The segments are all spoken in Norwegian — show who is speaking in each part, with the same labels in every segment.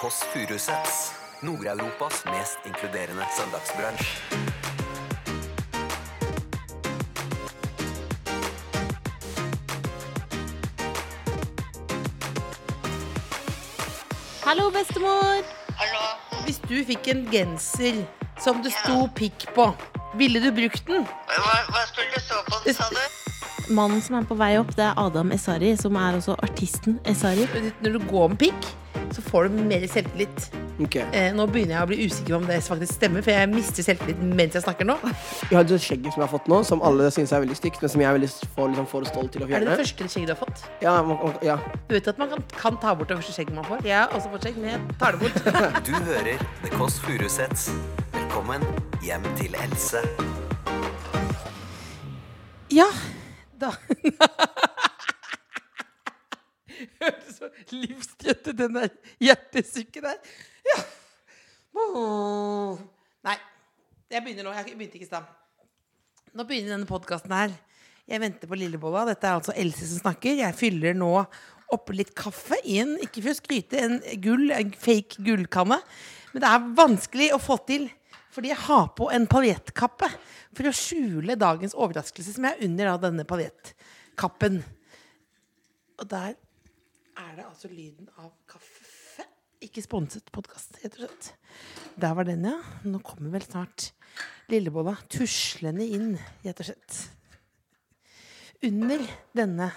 Speaker 1: Kåss Furuseths. Nord-Europas mest inkluderende søndagsbransj.
Speaker 2: Hallo, bestemor!
Speaker 3: Hallo.
Speaker 2: Hvis du fikk en genser som det sto pikk på, ville du brukt den?
Speaker 3: Hva, hva skulle det stå på den, sa du?
Speaker 4: Mannen som er på vei opp, det er Adam Esari, som er også artisten Esari.
Speaker 2: Når du går med pikk, så får du mer selvtillit.
Speaker 5: Ok,
Speaker 2: Eh, nå begynner jeg å bli usikker på om det faktisk stemmer, for jeg mister selvtillit mens jeg snakker nå.
Speaker 5: Jeg har et skjegg som jeg har fått nå, som alle syns er veldig stygt, men som jeg er veldig for, liksom, for stolt til
Speaker 2: Er
Speaker 5: å
Speaker 2: det
Speaker 5: fjerne.
Speaker 2: det første skjegget du har fått?
Speaker 5: Ja, man, man, ja.
Speaker 2: Du vet at man kan, kan ta bort det første skjegget man får? Jeg har også fått skjegg, men jeg tar det bort.
Speaker 1: Du hører The Kåss Furuseths. Velkommen hjem til Else.
Speaker 4: Ja,
Speaker 2: Da. Hørte så livsstøtte den der hjertesykket der. Ja. Åh. Nei, jeg begynner nå. Jeg begynte ikke i stad. Nå begynner denne podkasten her. Jeg venter på lillebolla. Dette er altså Else som snakker. Jeg fyller nå opp litt kaffe i en, ikke for å skryte, en gull, en fake gullkanne. Men det er vanskelig å få til. Fordi jeg har på en paljettkappe for å skjule dagens overraskelse, som jeg er under av denne paljettkappen. Og der er det altså lyden av kaffe. Ikke sponset podkast, rett og slett. Der var den, ja. Nå kommer vel snart lillebolla tuslende inn, rett og slett. Under denne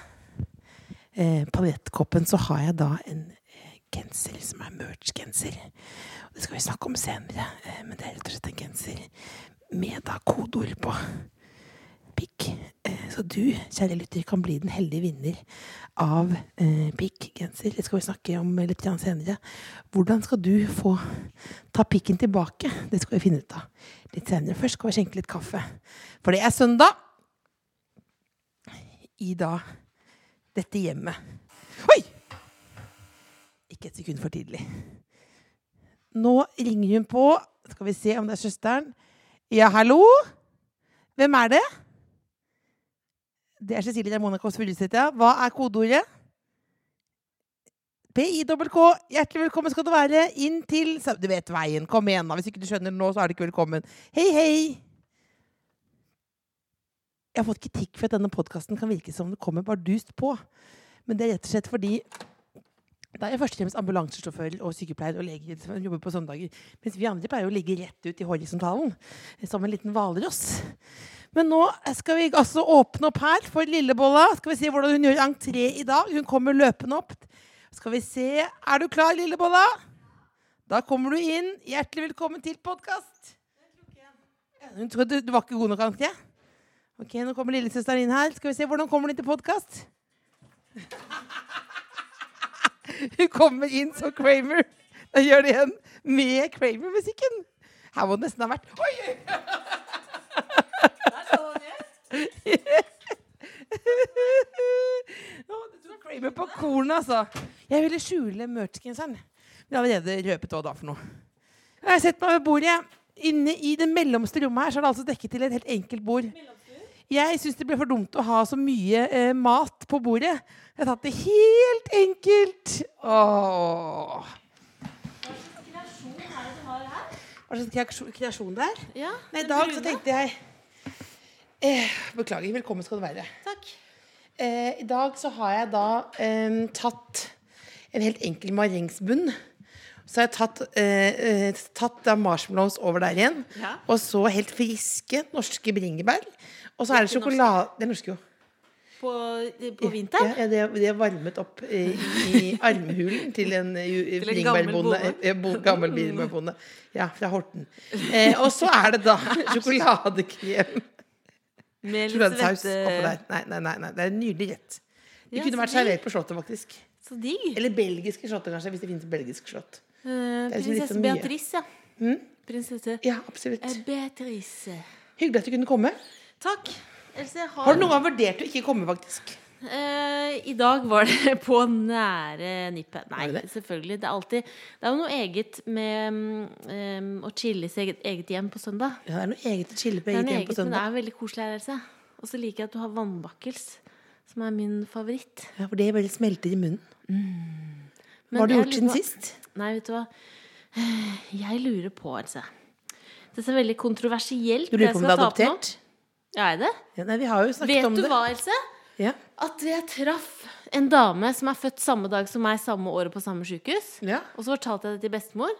Speaker 2: eh, paljettkoppen så har jeg da en eh, genser som er merch-genser. Og Det skal vi snakke om senere, eh, men det er rett og slett en genser med da kodeord på. Pikk. Eh, Så du, kjære lytter, kan bli den heldige vinner av eh, pikkgenser. Det skal vi snakke om eh, litt grann senere. Hvordan skal du få ta pikken tilbake? Det skal vi finne ut av litt senere. Først skal vi skjenke litt kaffe. For det er søndag i da dette hjemmet. Oi! Ikke et sekund for tidlig. Nå ringer hun på. Skal vi se om det er søsteren. Ja, hallo? Hvem er det? Det er Cecilie Ramona Kåss Furuseth, ja. Hva er kodeordet? PIWK. Hjertelig velkommen skal du være inn til sa- Du vet veien. Kom igjen, da. Hvis ikke du skjønner det nå, så er du ikke velkommen. Hei, hei. Jeg har fått kritikk for at denne podkasten kan virke som det kommer bardust på. Men det er rett og slett fordi da er jeg først og fremst ambulansesjåfør og sykepleier og lege som jobber på søndager. Mens vi andre pleier å ligge rett ut i horisontalen eh, som en liten hvalross. Men nå skal vi altså åpne opp her for Lillebolla. Skal vi se hvordan hun gjør entré i dag. Hun kommer løpende opp. Skal vi se. Er du klar, Lillebolla? Da kommer du inn. Hjertelig velkommen til podkast. Hun trodde du var ikke god nok, Anke. Ok, Nå kommer lillesøsteren inn her. Skal vi se hvordan kommer hun til podkast. Hun kommer inn som Kramer. Da gjør det igjen med Kramer-musikken. Her må det nesten ha vært Oi! oi, oi. Å, det tror jeg Kramer på kornet, altså. Jeg ville skjule merch-genseren. Men jeg har allerede røpet hva da for noe. Jeg setter meg ved bordet. Inne i det mellomste rommet her så er det altså dekket til et helt enkelt bord. Jeg syns det ble for dumt å ha så mye eh, mat på bordet. Jeg har tatt det helt enkelt. Åh. Hva slags kreasjon- kreasjon det er?
Speaker 4: ja.
Speaker 2: Nei, I dag så tenkte jeg eh, Beklager. Velkommen skal du være.
Speaker 4: Takk.
Speaker 2: Eh, I dag så har jeg da eh, tatt en helt enkel marengsbunn. Så har jeg tatt, eh, eh, tatt da marshmallows over der igjen.
Speaker 4: Ja.
Speaker 2: Og så helt friske norske bringebær. Og så er det
Speaker 4: Ikke norske.
Speaker 2: sjokolade Det er norske, jo.
Speaker 4: På, på vinteren?
Speaker 2: Ja, ja, det, det er varmet opp eh, i armhulen til en, eh, ju-
Speaker 4: Til en
Speaker 2: bringebærbonde.
Speaker 4: gammel bonde.
Speaker 2: eh, bo- Gammel bringebærbonde. Ja, fra Horten. Eh, og så er det da sjokoladekrem.
Speaker 4: Med litt
Speaker 2: Sjokoladesaus oppå
Speaker 4: svette
Speaker 2: der. Nei, nei, nei, nei, det er en nydelig rett. Det
Speaker 4: eh, Ja,
Speaker 2: kunne
Speaker 4: så
Speaker 2: vært servert på Slottet, faktisk.
Speaker 4: eh, Så digg.
Speaker 2: Eller belgiske slottet, kanskje, hvis det finnes belgisk slott.
Speaker 4: Eh,
Speaker 2: er liksom litt
Speaker 4: prinsesse
Speaker 2: for mye. Mm?
Speaker 4: Beatrice, ja. Prinsesse
Speaker 2: Ja, absolutt.
Speaker 4: eh, Beatrice.
Speaker 2: Hyggelig at du kunne komme.
Speaker 4: Takk. Else, jeg
Speaker 2: Har du noen gang vurdert å ikke komme, faktisk?
Speaker 4: Eh, I dag var det på nære nippet. Nei,
Speaker 2: Var det det?
Speaker 4: selvfølgelig. Det er alltid Det er jo noe eget med mm, em, å chille i sitt eget, eget hjem på søndag.
Speaker 2: Ja, det er noe eget å chille på
Speaker 4: Det er
Speaker 2: eget
Speaker 4: noe
Speaker 2: hjem på
Speaker 4: eget, men det
Speaker 2: søndag.
Speaker 4: er veldig koselig her, Else. Og så liker jeg at du har vannbakkels, som er min favoritt.
Speaker 2: Ja, for det bare smelter i munnen.
Speaker 4: Men
Speaker 2: Hva har du
Speaker 4: jeg
Speaker 2: gjort
Speaker 4: lurer
Speaker 2: siden
Speaker 4: på-
Speaker 2: sist?
Speaker 4: Nei, vet du hva. Jeg lurer på, altså. Dette er veldig kontroversielt.
Speaker 2: Du lurer
Speaker 4: det
Speaker 2: på
Speaker 4: jeg
Speaker 2: om du er
Speaker 4: skal ta opp nå.
Speaker 2: adoptert?
Speaker 4: Ja, er det?
Speaker 2: Ja, nei, vi har jo snakket
Speaker 4: Vet
Speaker 2: om
Speaker 4: du
Speaker 2: det.
Speaker 4: hva, Else?
Speaker 2: Ja.
Speaker 4: At jeg traff en dame som er født samme dag som meg, samme året på samme sykehus.
Speaker 2: Ja.
Speaker 4: Og så fortalte jeg det til bestemor.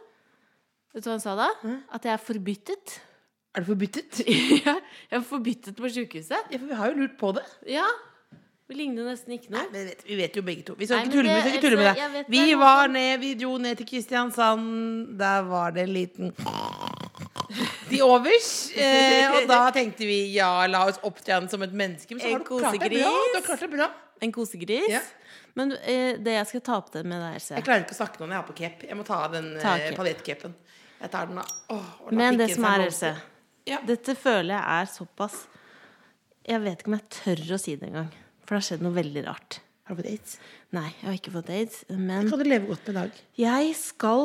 Speaker 4: Vet du hva hun sa da? At jeg er forbyttet.
Speaker 2: Er det forbyttet?
Speaker 4: jeg er forbyttet på sykehuset.
Speaker 2: Ja, for vi har jo lurt på det.
Speaker 4: Ja. Vi ligner jo nesten ikke
Speaker 2: Nei,
Speaker 4: noe.
Speaker 2: men vet, vi vet jo begge to. Vi skal
Speaker 4: Nei,
Speaker 2: ikke
Speaker 4: men
Speaker 2: tulle med,
Speaker 4: det-
Speaker 2: vi skal ikke tulle med
Speaker 4: Else, jeg
Speaker 2: det.
Speaker 4: vet
Speaker 2: Vi
Speaker 4: det er noe
Speaker 2: var
Speaker 4: som-
Speaker 2: ned, vi dro ned til Kristiansand. Der var det en liten De overs. Eh, og da tenkte vi ja, la oss opptre han som et menneske. Men så
Speaker 4: En
Speaker 2: har du klart deg bra.
Speaker 4: kosegris.
Speaker 2: Du har klart deg bra.
Speaker 4: En kosegris.
Speaker 2: Ja.
Speaker 4: Men eh, det jeg skal ta opp det med deg, Else
Speaker 2: Jeg klarer ikke å snakke nå når jeg har på cape. Jeg må ta av den
Speaker 4: Ta
Speaker 2: eh,
Speaker 4: cape.
Speaker 2: paljettcapen. Jeg tar den av. Åh, og la
Speaker 4: Men det
Speaker 2: pikken
Speaker 4: som
Speaker 2: seg
Speaker 4: er,
Speaker 2: blomstre.
Speaker 4: Else
Speaker 2: Ja.
Speaker 4: Dette føler jeg er såpass Jeg vet ikke om jeg tør å si det engang. For det har skjedd noe veldig rart.
Speaker 2: Har du fått aids?
Speaker 4: Nei, jeg har ikke fått aids. Men
Speaker 2: Kan du leve godt med i dag?
Speaker 4: jeg skal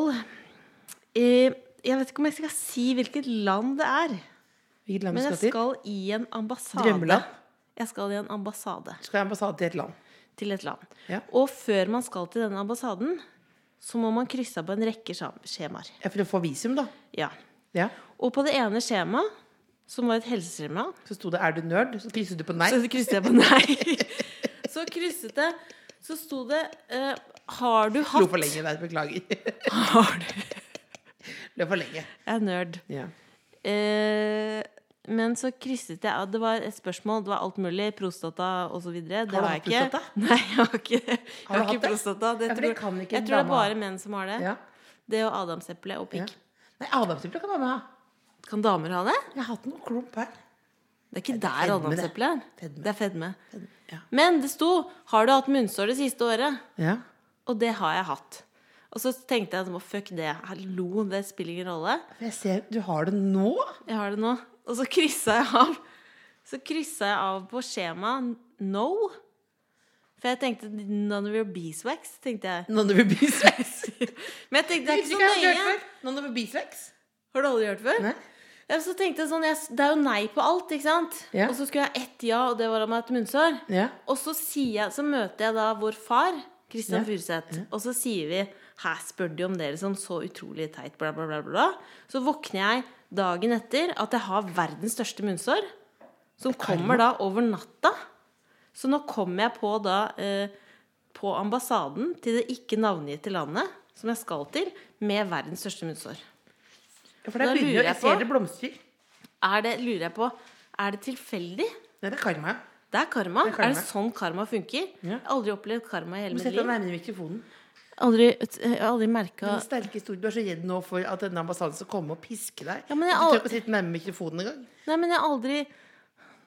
Speaker 4: eh, Jeg vet ikke om jeg skal si hvilket land det er.
Speaker 2: Hvilket land
Speaker 4: Men
Speaker 2: du
Speaker 4: jeg
Speaker 2: skal til?
Speaker 4: skal i en ambassade.
Speaker 2: Drømmeland?
Speaker 4: Jeg skal i en ambassade
Speaker 2: Skal jeg ambassade til et land?
Speaker 4: til et land.
Speaker 2: Ja.
Speaker 4: Og før man skal til denne ambassaden, så må man krysse av på en rekke skjam- skjemaer.
Speaker 2: Ja, for å få visum, da.
Speaker 4: Ja.
Speaker 2: Ja.
Speaker 4: Og på det ene skjemaet, som var et helseskjema,
Speaker 2: Så sto det 'er du nerd?' Så krysset du på nei.
Speaker 4: så krysset jeg på nei. Så krysset jeg Så sto det eh, Har du
Speaker 2: Lo for
Speaker 4: hatt
Speaker 2: lenge der, beklager.
Speaker 4: Har du
Speaker 2: Lo for lenge.
Speaker 4: Jeg er nerd.
Speaker 2: Ja.
Speaker 4: Eh, men så krysset jeg av. Det var et spørsmål. Det var alt mulig. Prostata og så videre. Det
Speaker 2: Har du
Speaker 4: har jeg
Speaker 2: hatt
Speaker 4: ikke.
Speaker 2: prostata?
Speaker 4: Nei, jeg har ikke, jeg har
Speaker 2: hatt
Speaker 4: ikke
Speaker 2: det?
Speaker 4: prostata. Det
Speaker 2: Ja, for
Speaker 4: tror,
Speaker 2: det kan ikke
Speaker 4: jeg
Speaker 2: en
Speaker 4: tror det er
Speaker 2: dame ha.
Speaker 4: bare menn som har det.
Speaker 2: ja.
Speaker 4: Det og adamseple og pikk.
Speaker 2: Nei, adamsepple kan damer ha.
Speaker 4: Kan damer ha det?
Speaker 2: Jeg har hatt noen klump her.
Speaker 4: Det er ikke
Speaker 2: det er
Speaker 4: der
Speaker 2: fedme, det.
Speaker 4: adamseple er.
Speaker 2: Fedme.
Speaker 4: Det er fedme.
Speaker 2: Ja.
Speaker 4: Men det sto 'Har du hatt munnsår det siste året?'
Speaker 2: ja.
Speaker 4: Og det har jeg hatt. Og så tenkte jeg sånn, fuck det. Hallo, det spiller ingen rolle.
Speaker 2: For jeg ser du har det nå.
Speaker 4: Jeg har det nå. Og så kryssa jeg av. Så kryssa jeg av på skjemaet no. For jeg tenkte none of your beeswax, tenkte jeg.
Speaker 2: None of your beeswax.
Speaker 4: Men jeg tenkte det er
Speaker 2: Uttrykket
Speaker 4: ikke
Speaker 2: har
Speaker 4: så
Speaker 2: jeg aldri hørt
Speaker 4: nøye.
Speaker 2: før. None of your beeswax.
Speaker 4: Har du aldri hørt før?
Speaker 2: Nei.
Speaker 4: Ja, så tenkte jeg sånn, jeg, Det er jo nei på alt, ikke sant?
Speaker 2: Ja.
Speaker 4: Og så skulle jeg ha ett ja, og det var om jeg hadde et munnsår.
Speaker 2: Ja.
Speaker 4: Og så, sier jeg, så møter jeg da vår far, Kristian
Speaker 2: Ja.
Speaker 4: Furuseth. Og så sier vi Her spør de om dere som så utrolig teit, bla, bla, bla, bla. Så våkner jeg dagen etter at jeg har verdens største munnsår. Som kommer da over natta. Så nå kommer jeg på da eh, på ambassaden til det ikke navngitte landet som jeg skal til, med verdens største munnsår.
Speaker 2: Ja, For der
Speaker 4: Da
Speaker 2: begynner
Speaker 4: lurer
Speaker 2: jo
Speaker 4: jeg
Speaker 2: Jeg
Speaker 4: på-
Speaker 2: ser det blomstrer.
Speaker 4: Er det, lurer jeg på, er det tilfeldig?
Speaker 2: Ja, det er karma. ja.
Speaker 4: Det er karma.
Speaker 2: Det er
Speaker 4: er,
Speaker 2: karma.
Speaker 4: det sånn karma funker?
Speaker 2: Ja.
Speaker 4: Jeg har aldri opplevd karma i hele
Speaker 2: Du
Speaker 4: mitt
Speaker 2: må sette deg
Speaker 4: liv.
Speaker 2: nærmere mikrofonen.
Speaker 4: Aldri, jeg har aldri merka
Speaker 2: Den sterke historien. Du er så redd nå for at denne ambassaden skal komme og piske deg.
Speaker 4: Ja, men jeg
Speaker 2: At du
Speaker 4: al-
Speaker 2: tør ikke å sitte nærme mikrofonen engang.
Speaker 4: Nei, men jeg har aldri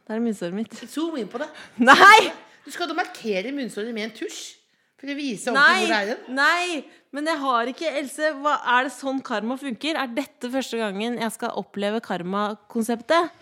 Speaker 4: Der er munnsåret mitt.
Speaker 2: Zoom inn på det.
Speaker 4: Nei!
Speaker 2: Du skal da markere munnsåret med en tusj. For å vise ordentlig hvor det
Speaker 4: Nei!
Speaker 2: er hen.
Speaker 4: Nei! Men jeg har ikke Else, hva, er det sånn karma funker? Er dette første gangen jeg skal oppleve karmakonseptet?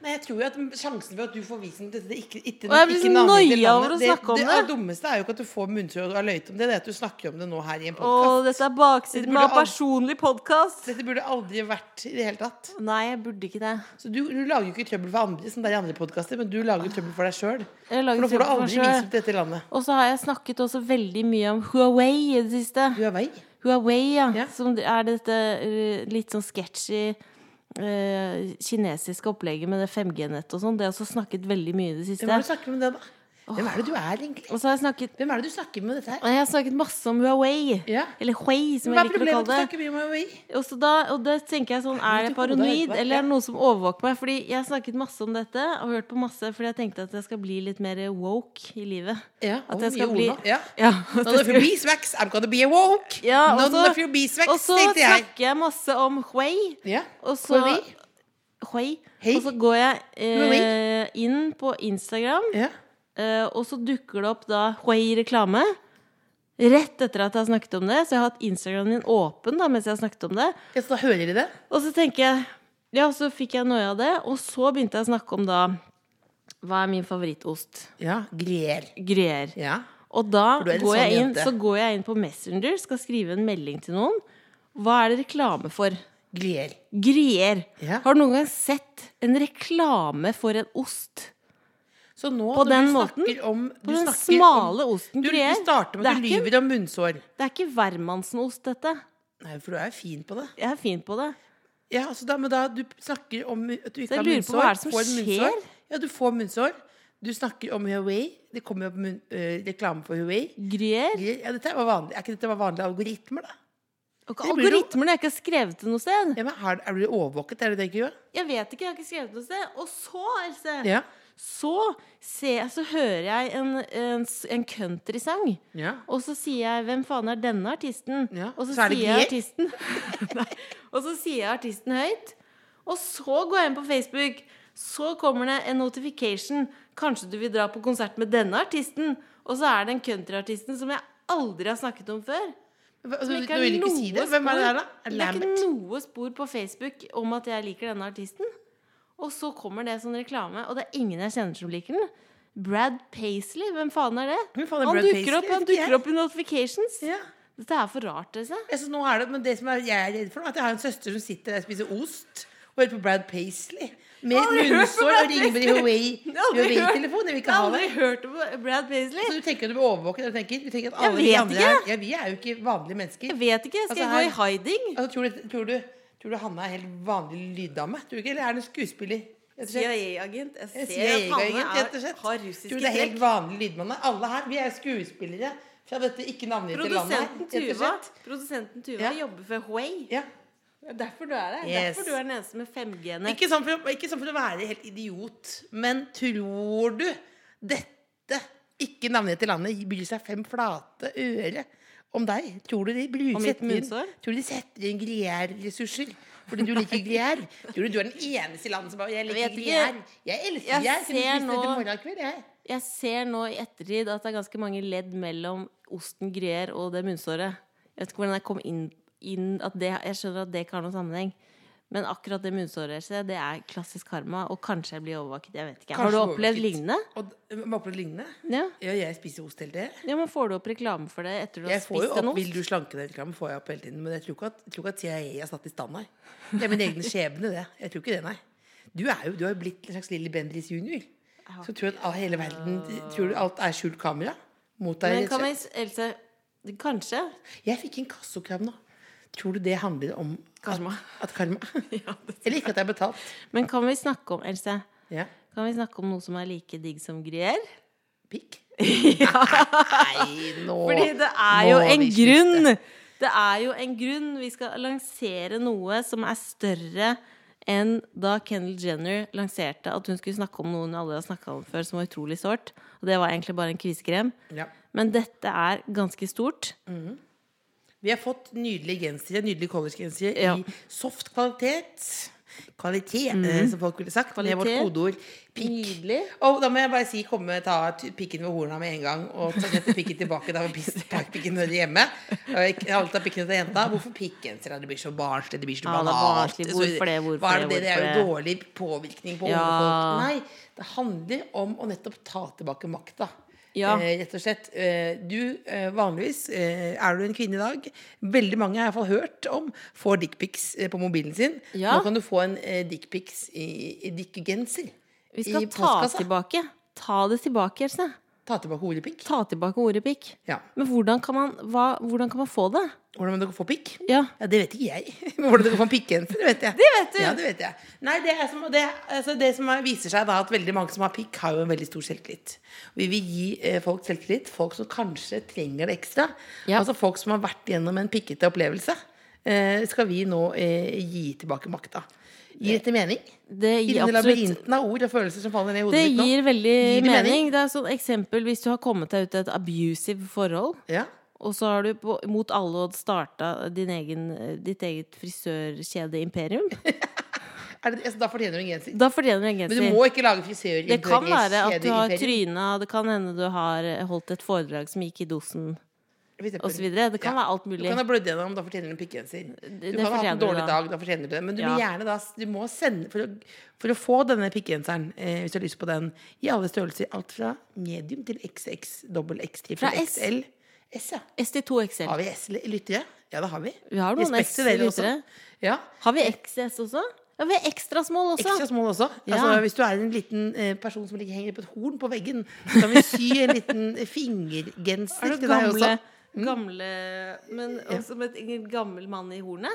Speaker 2: Nei, jeg tror jo at sjansen for at du får visen til dette ikke, ikke,
Speaker 4: Og jeg blir
Speaker 2: ikke
Speaker 4: så
Speaker 2: navngitte
Speaker 4: nøya over
Speaker 2: landet,
Speaker 4: å snakke om
Speaker 2: det,
Speaker 4: det.
Speaker 2: det dummeste er jo ikke at du får munnsår og har løyet om det, det er at du snakker om det nå her i
Speaker 4: Å,
Speaker 2: en podkast.
Speaker 4: dette er baksiden
Speaker 2: Burde
Speaker 4: av
Speaker 2: al-
Speaker 4: personlig podkast!
Speaker 2: Dette burde aldri vært i det hele tatt.
Speaker 4: Nei, jeg burde ikke det.
Speaker 2: Så du, du lager jo ikke trøbbel for andre, som det er i andre podkaster, men du lager trøbbel for deg sjøl.
Speaker 4: Jeg
Speaker 2: For
Speaker 4: lager
Speaker 2: nå får du
Speaker 4: trøbbel for
Speaker 2: aldri
Speaker 4: meg selv.
Speaker 2: visum til dette landet.
Speaker 4: Og så har jeg snakket også veldig mye om Huawei i det siste.
Speaker 2: Du er vei.
Speaker 4: Huawei, ja.
Speaker 2: Ja.
Speaker 4: Som er dette eh, litt sånn sketchy eh, kinesiske opplegget med det 5G-nettet og sånn. Det har jeg også snakket veldig mye i det
Speaker 2: Hvem er det du
Speaker 4: siste.
Speaker 2: snakker med det, da? Hvem er det du er, egentlig?
Speaker 4: Og så har jeg snakket
Speaker 2: Hvem er det du snakker med med dette her?
Speaker 4: jeg har snakket masse om Huawei.
Speaker 2: Ja.
Speaker 4: Eller Huawei, som jeg
Speaker 2: Hva er
Speaker 4: liker å
Speaker 2: problemet med at du
Speaker 4: kalle det.
Speaker 2: snakker mye med Huawei?
Speaker 4: Og, så da, og da tenker jeg sånn, er jeg
Speaker 2: Litt i hodet,
Speaker 4: paranoid,
Speaker 2: vet du.
Speaker 4: eller er det noen som overvåker meg? Fordi jeg har snakket masse om dette, og hørt på masse, fordi jeg tenkte at jeg skal bli litt mer woke i livet.
Speaker 2: Ja,
Speaker 4: At
Speaker 2: og
Speaker 4: jeg skal
Speaker 2: mye
Speaker 4: bli
Speaker 2: ord nå. Ja.
Speaker 4: Ja, at
Speaker 2: None
Speaker 4: jeg
Speaker 2: of your
Speaker 4: skal-
Speaker 2: beeswax, I'm gonna be a woke.
Speaker 4: Ja, og
Speaker 2: None
Speaker 4: så-
Speaker 2: of your beeswax,
Speaker 4: Og så
Speaker 2: tenkte jeg.
Speaker 4: snakker jeg masse om Huawei.
Speaker 2: Ja.
Speaker 4: Og så
Speaker 2: Huawei?
Speaker 4: Huawei.
Speaker 2: Hei.
Speaker 4: Og så går jeg eh,
Speaker 2: Huawei?
Speaker 4: inn på Instagram,
Speaker 2: Ja.
Speaker 4: eh, og så dukker det opp da Huawei-reklame. Rett etter at jeg har snakket om det. Så jeg har hatt Instagramen din åpen da mens jeg har snakket om det.
Speaker 2: Ja, så da hører de det?
Speaker 4: Og så tenker jeg Ja, så fikk jeg noe av det. Og så begynte jeg å snakke om da Hva er min favorittost?
Speaker 2: Ja. Grier.
Speaker 4: Gruyère.
Speaker 2: Ja.
Speaker 4: Og da
Speaker 2: For du er
Speaker 4: går,
Speaker 2: en sånn
Speaker 4: jeg inn,
Speaker 2: jente.
Speaker 4: så går jeg inn på Messenger, skal skrive en melding til noen. Hva er det reklame for?
Speaker 2: Grier.
Speaker 4: Gruyère.
Speaker 2: Ja.
Speaker 4: Har du noen gang sett en reklame for en ost?
Speaker 2: Så nå
Speaker 4: På
Speaker 2: når
Speaker 4: den
Speaker 2: du
Speaker 4: måten?
Speaker 2: snakker om
Speaker 4: På
Speaker 2: du
Speaker 4: den
Speaker 2: snakker
Speaker 4: smale
Speaker 2: om,
Speaker 4: osten
Speaker 2: du, du
Speaker 4: gruyère.
Speaker 2: starter med
Speaker 4: Det
Speaker 2: at
Speaker 4: er
Speaker 2: du
Speaker 4: ikke-
Speaker 2: lyver om munnsår.
Speaker 4: Det er ikke hvermannsenost, dette.
Speaker 2: Nei, for du er jo fin på det.
Speaker 4: Jeg er fin på det.
Speaker 2: Ja, altså da, men da Du snakker om at du
Speaker 4: Så jeg
Speaker 2: ikke har
Speaker 4: lurer på
Speaker 2: munnsår.
Speaker 4: hva er det som
Speaker 2: får munnsår.
Speaker 4: skjer?
Speaker 2: Ja, du får munnsår. Du snakker om Huawei. Det kommer jo opp munn- øh, reklame for Huawei.
Speaker 4: Gruyère.
Speaker 2: Ja, dette var vanlig. Er ikke dette var vanlige algoritmer, da?
Speaker 4: Og ikke
Speaker 2: Det blir jo-
Speaker 4: Algoritmer når jeg ikke har skrevet det noe sted.
Speaker 2: Ja, men er, er du overvåket? Er det det du gjør?
Speaker 4: Jeg vet ikke, jeg har ikke skrevet det noe sted. Og så, Else,
Speaker 2: Ja.
Speaker 4: så, ser jeg, så hører jeg en, en, s- en countrysang.
Speaker 2: ja.
Speaker 4: Og så sier jeg 'Hvem faen er denne artisten?'
Speaker 2: Ja,
Speaker 4: Og så,
Speaker 2: så er det
Speaker 4: sier jeg
Speaker 2: Grier?
Speaker 4: artisten Nei. Og så sier jeg artisten høyt. Og så går jeg inn på Facebook. Så kommer det en notification. 'Kanskje du vil dra på konsert med denne artisten?' Og så er det den countryartisten som jeg aldri har snakket om før.
Speaker 2: Hva-
Speaker 4: Som
Speaker 2: Altså,
Speaker 4: ikke
Speaker 2: nå
Speaker 4: har
Speaker 2: vil du ikke si det.
Speaker 4: noe
Speaker 2: Hvem er
Speaker 4: spor-
Speaker 2: det der, da? Er det
Speaker 4: Det er
Speaker 2: Lambert?
Speaker 4: ikke noe spor på Facebook om at jeg liker denne artisten. Og så kommer det som reklame, og det er ingen jeg kjenner som liker den. Brad Paisley, hvem faen er det?
Speaker 2: Hvem faen er
Speaker 4: han
Speaker 2: Brad
Speaker 4: dukker
Speaker 2: Paisley?
Speaker 4: opp, han
Speaker 2: Vet ikke
Speaker 4: dukker
Speaker 2: jeg.
Speaker 4: opp i notifications.
Speaker 2: Ja.
Speaker 4: Dette er for rart, Else.
Speaker 2: Jeg, nå er det, men det som er, jeg er redd for, nå, er at jeg har en søster som sitter der og spiser ost og hører på Brad Paisley. Med
Speaker 4: Aldri hørt på
Speaker 2: munnsår
Speaker 4: Brad
Speaker 2: og ringer med
Speaker 4: Paisley. Aldri hørt-
Speaker 2: Huawei-telefonen. Jeg
Speaker 4: Jeg
Speaker 2: vil ikke
Speaker 4: har
Speaker 2: ha det.
Speaker 4: aldri hørt om Brad Paisley.
Speaker 2: Så du tenker at du blir overvåket? og Du tenker, du tenker at
Speaker 4: Jeg
Speaker 2: alle de
Speaker 4: vet
Speaker 2: andre
Speaker 4: ikke.
Speaker 2: Er, ja, vi er jo ikke vanlige mennesker.
Speaker 4: Jeg vet ikke. Skal
Speaker 2: Altså,
Speaker 4: jeg gå i hiding?
Speaker 2: Altså, tror, du, tror, du, tror du Hanne er helt vanlig lyddame? Tror du ikke, Eller er hun skuespiller? rett og slett?
Speaker 4: CIA-agent. Jeg
Speaker 2: Jeg sier jeg er- rett og slett. Tror du det er helt vanlig lydmann? her? Alle her, vi er skuespillere fra dette ikke navngitte landet her.
Speaker 4: Produsenten
Speaker 2: rett og
Speaker 4: Tuva,
Speaker 2: slett.
Speaker 4: produsenten Tuva
Speaker 2: Ja.
Speaker 4: jobber for Huawei.
Speaker 2: Ja.
Speaker 4: Det er derfor du er der. Det er
Speaker 2: Yes.
Speaker 4: Derfor du er den eneste med 5G-ene.
Speaker 2: Ikke sånn, for, ikke sånn for å være helt idiot, men tror du dette ikke navngitte landet bryr seg fem flate øre om deg? Tror du de bryr
Speaker 4: Om mitt
Speaker 2: setter inn-
Speaker 4: munnsår?
Speaker 2: Tror du de setter inn Grier-ressurser? Fordi du liker Grier? Tror du du er den eneste i landet som bare Jeg
Speaker 4: Jeg
Speaker 2: liker
Speaker 4: vet ikke.
Speaker 2: Grier. Jeg elsker
Speaker 4: Jeg
Speaker 2: Grier. Kunne
Speaker 4: ser
Speaker 2: spist det
Speaker 4: nå-
Speaker 2: til morgenkveld, jeg.
Speaker 4: Jeg ser nå i ettertid at det er ganske mange ledd mellom osten gruyère og det munnsåret. Jeg vet ikke hvordan jeg kom inn, inn at det, Jeg skjønner at det ikke har noen sammenheng. Men akkurat det munnsåret ser jeg, det er klassisk karma. Og kanskje jeg blir overvåket. Jeg vet ikke. har
Speaker 2: Kanskje
Speaker 4: du opplevd
Speaker 2: overvåket.
Speaker 4: lignende?
Speaker 2: Og, øh, må oppleve lignende?
Speaker 4: Ja.
Speaker 2: Ja, jeg spiser ost hele tiden.
Speaker 4: ja, men Får du opp reklame for det etter du har
Speaker 2: Jeg får jo
Speaker 4: spist en
Speaker 2: opp 'Vil
Speaker 4: ost?
Speaker 2: du slanke deg?'-reklame får jeg opp hele tiden. Men jeg tror ikke at, jeg tror ikke at CIA har satt i stand her. Det er min egen skjebne, det. Jeg tror ikke det, nei. Du, er jo, du har jo blitt en slags Lilly Bendriss jr. Så tror du at all- hele verden Tror du alt er skjult kamera mot deg?
Speaker 4: Men
Speaker 2: rett og
Speaker 4: kan
Speaker 2: slett?
Speaker 4: jeg, Else, kanskje?
Speaker 2: Jeg fikk en kassokrav nå. Tror du det handler om
Speaker 4: Karma.
Speaker 2: At, at karma Eller ikke at jeg er betalt.
Speaker 4: Men kan vi snakke om Else,
Speaker 2: Ja.
Speaker 4: kan vi snakke om noe som er like digg som gruyère?
Speaker 2: Pikk? Nei, nå
Speaker 4: Fordi det er
Speaker 2: må
Speaker 4: jo en
Speaker 2: vi slutte.
Speaker 4: grunn. Det er jo en grunn. Vi skal lansere noe som er større enn da Kendal Jenner lanserte at hun skulle snakke om noe hun aldri har snakka om før, som var utrolig sårt. Og det var egentlig bare en kvisekrem.
Speaker 2: Ja.
Speaker 4: Men dette er ganske stort.
Speaker 2: Vi har fått nydelige gensere, nydelige collegegensere
Speaker 4: Ja.
Speaker 2: i soft kvalitet. Kvalitet, eh, som folk ville sagt. Det er vårt
Speaker 4: Mhm. Kvalitet.
Speaker 2: kodeord. Pikk.
Speaker 4: Nydelig.
Speaker 2: Og da må jeg bare si, komme, ta t- pikken ved horna med en gang og ta sette pikken tilbake. Da var pis- park pikken hører hjemme. Og ikke- alle tar pikken til jenta. Hvorfor pikkgenser? Det blir så barnslig. Det blir så
Speaker 4: Ja, det er
Speaker 2: banalt.
Speaker 4: barnslig.
Speaker 2: Så-
Speaker 4: Hvorfor det, hvorfor
Speaker 2: Hva er det?
Speaker 4: det,
Speaker 2: Det er jo
Speaker 4: hvorfor
Speaker 2: dårlig påvirkning på
Speaker 4: Ja.
Speaker 2: unge folk. Nei, det handler om å nettopp ta tilbake makta.
Speaker 4: Ja.
Speaker 2: Eh, rett og slett. Eh, Du, eh, vanligvis, eh, er du en kvinne i dag Veldig mange har jeg iallfall hørt om får dickpics eh, på mobilen sin.
Speaker 4: Ja.
Speaker 2: Nå kan du få en eh, dickpics i, i dickgenser.
Speaker 4: Vi skal
Speaker 2: I
Speaker 4: ta
Speaker 2: postkassa.
Speaker 4: tilbake. Ta det tilbake, Else.
Speaker 2: Ta tilbake ordet pikk.
Speaker 4: Ta tilbake ordet pikk.
Speaker 2: Ja.
Speaker 4: Men hvordan kan man, hva, hvordan kan man få det?
Speaker 2: Hvordan dere får pikk?
Speaker 4: Ja.
Speaker 2: Ja, Det vet ikke jeg. Men Hvordan dere får pikkgenser, det vet jeg.
Speaker 4: Det vet du.
Speaker 2: Ja, det vet jeg. Nei, det, er som, det, altså det som er- viser seg da, at veldig mange som har pikk, har jo en veldig stor selvtillit. Vi vil gi eh, folk selvtillit, folk som kanskje trenger det ekstra.
Speaker 4: Ja.
Speaker 2: Altså folk som har vært gjennom en pikkete opplevelse, eh, skal vi nå eh, gi tilbake makta. Gir dette mening?
Speaker 4: Det
Speaker 2: I
Speaker 4: gir
Speaker 2: denne
Speaker 4: absolutt
Speaker 2: labyrinten av ord og følelser som faller ned i hodet
Speaker 4: Det
Speaker 2: mitt nå.
Speaker 4: gir veldig
Speaker 2: Gir det
Speaker 4: mening.
Speaker 2: mening?
Speaker 4: Det er sånn eksempel hvis du har kommet deg ut i et abusive forhold,
Speaker 2: Ja.
Speaker 4: og så har du på, mot alle odds starta din egen- ditt eget frisørkjedeimperium,
Speaker 2: Er det, altså, da fortjener du en genser.
Speaker 4: da fortjener du en
Speaker 2: Men du
Speaker 4: genser.
Speaker 2: må ikke lage frisør
Speaker 4: Det kan være at du har tryna, det kan hende du har holdt et foredrag som gikk i dosen, osv. Det kan
Speaker 2: Ja.
Speaker 4: være alt
Speaker 2: Du
Speaker 4: mulig.
Speaker 2: kan ha blødd gjennom, da fortjener du en pikkgenser.
Speaker 4: det
Speaker 2: Du kan ha hatt
Speaker 4: fortjener
Speaker 2: en
Speaker 4: du
Speaker 2: dårlig
Speaker 4: da.
Speaker 2: dag, da fortjener du det. Men du må
Speaker 4: Ja.
Speaker 2: gjerne da du må sende, for, å, for å få denne pikkgenseren, eh, hvis du har lyst på den, i alle størrelser, alt fra medium til XX, dobbel X,
Speaker 4: Fra
Speaker 2: trippel
Speaker 4: S.
Speaker 2: XL. S, ja.
Speaker 4: ST2 XL.
Speaker 2: Har vi S-lyttere? Ja, det har vi.
Speaker 4: Vi har noen
Speaker 2: Respekt til dere også.
Speaker 4: S-lyttere.
Speaker 2: Ja.
Speaker 4: Har vi XS også? Ja, vi er ekstra small også.
Speaker 2: Ekstra small også.
Speaker 4: Ja.
Speaker 2: Altså, hvis du er en liten eh, person som ligger henger på et horn på veggen, så kan vi sy en liten fingergenser
Speaker 4: Er
Speaker 2: til
Speaker 4: du
Speaker 2: deg også. Mm.
Speaker 4: gamle, gamle Men som et en gammel mann i hornet.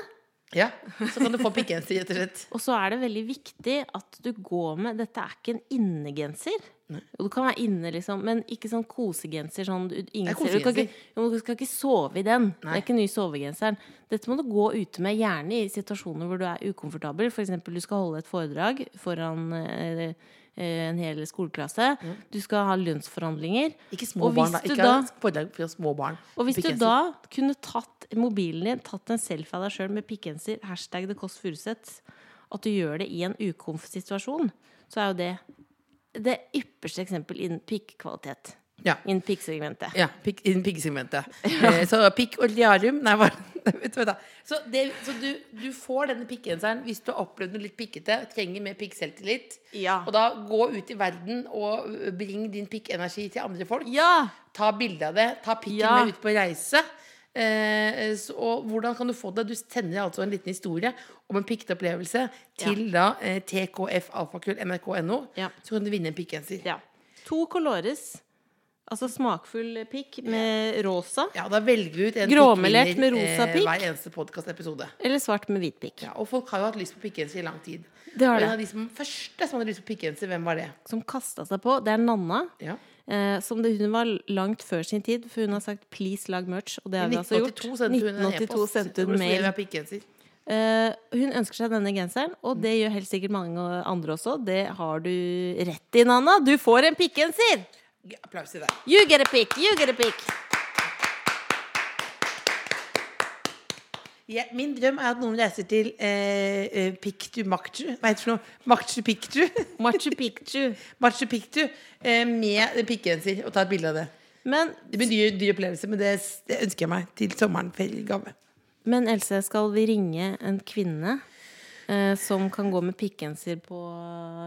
Speaker 2: Ja, så kan du få pikkgenser, rett og slett.
Speaker 4: Og så er det veldig viktig at du går med Dette er ikke en innegenser. Og Du kan være inne, liksom, men ikke sånn kosegenser. Sånn, du, ingen
Speaker 2: Det er
Speaker 4: ser- du, kan
Speaker 2: kosegenser.
Speaker 4: ikke, jo, men du skal ikke sove i den. Det er ikke den nye sovegenseren. Dette må du gå ute med, gjerne i situasjoner hvor du er ukomfortabel. F.eks. du skal holde et foredrag foran eh, eh, en hel skoleklasse. Du skal ha lønnsforhandlinger.
Speaker 2: Ikke små
Speaker 4: Og hvis
Speaker 2: barn, da.
Speaker 4: du
Speaker 2: Ikke
Speaker 4: da-
Speaker 2: foredrag for små barn.
Speaker 4: Og hvis du
Speaker 2: Pikkgenser.
Speaker 4: da kunne tatt mobilen din, tatt en selfie av deg sjøl med pikkgenser, hashtag det Kåss Furuseth, at du gjør det i en ukomf-situasjon, så er jo det det ypperste eksempel innen pikkvalitet.
Speaker 2: Ja.
Speaker 4: Innen pikksegmentet.
Speaker 2: Ja, pikk, innen piggsegmentet. Eh, så pikk og liarum Nei, hva vet du hva da. Så, det, så du, du får denne pikkgenseren hvis du har opplevd noe litt pikkete og trenger mer pikkselvtillit.
Speaker 4: Ja.
Speaker 2: Og da gå ut i verden og ø, bring din pikkenergi til andre folk.
Speaker 4: Ja!
Speaker 2: Ta bilde av det. Ta pikken
Speaker 4: Ja.
Speaker 2: med ut på reise. Eh, så, og hvordan kan du få det? Du sender altså en liten historie om en pikkete opplevelse til da eh, tkfalfakull.nrk.no.
Speaker 4: Ja.
Speaker 2: Så kan du vinne en pikkgenser.
Speaker 4: ja. To colores, altså smakfull pikk med rosa,
Speaker 2: Ja, da velger vi ut en
Speaker 4: Gråmelert
Speaker 2: pikkvinner,
Speaker 4: med rosa
Speaker 2: eh,
Speaker 4: pikk.
Speaker 2: hver eneste podkastepisode.
Speaker 4: eller svart med hvit pikk.
Speaker 2: Ja, og folk har jo hatt lyst på pikkgenser i lang tid.
Speaker 4: Det har
Speaker 2: og en av
Speaker 4: det.
Speaker 2: de som første som hadde lyst på pikkgenser, hvem var det?
Speaker 4: Som kasta seg på. Det er Nanna.
Speaker 2: Ja.
Speaker 4: Eh, som det, hun var langt før sin tid, for hun har sagt 'please, lag merch'. Og det har
Speaker 2: I
Speaker 4: vi altså gjort.
Speaker 2: 1982 sendte hun en
Speaker 4: 1982
Speaker 2: e-post.
Speaker 4: sendte hun
Speaker 2: hvor det sto, «Jeg vil
Speaker 4: mail.
Speaker 2: ha pikkgenser».
Speaker 4: Eh, hun ønsker seg denne genseren, og det gjør helt sikkert mange andre også. Det har du rett i, Nanna. Du får en pikkgenser!
Speaker 2: Ja, Applaus til deg.
Speaker 4: You get a pick, you get a pick.
Speaker 2: Ja, min drøm er at noen reiser til eh, eh, Pictu Macchu Hva heter det for noe? Macchu Picchu.
Speaker 4: Machu Picchu.
Speaker 2: Machu Picchu eh, med pikkgenser. Og ta et bilde av det.
Speaker 4: Men,
Speaker 2: Det blir en dyr, dyr opplevelse, men det, det ønsker jeg meg til sommeren. for i gave.
Speaker 4: men Else, skal vi ringe en kvinne eh, som kan gå med pikkgenser på,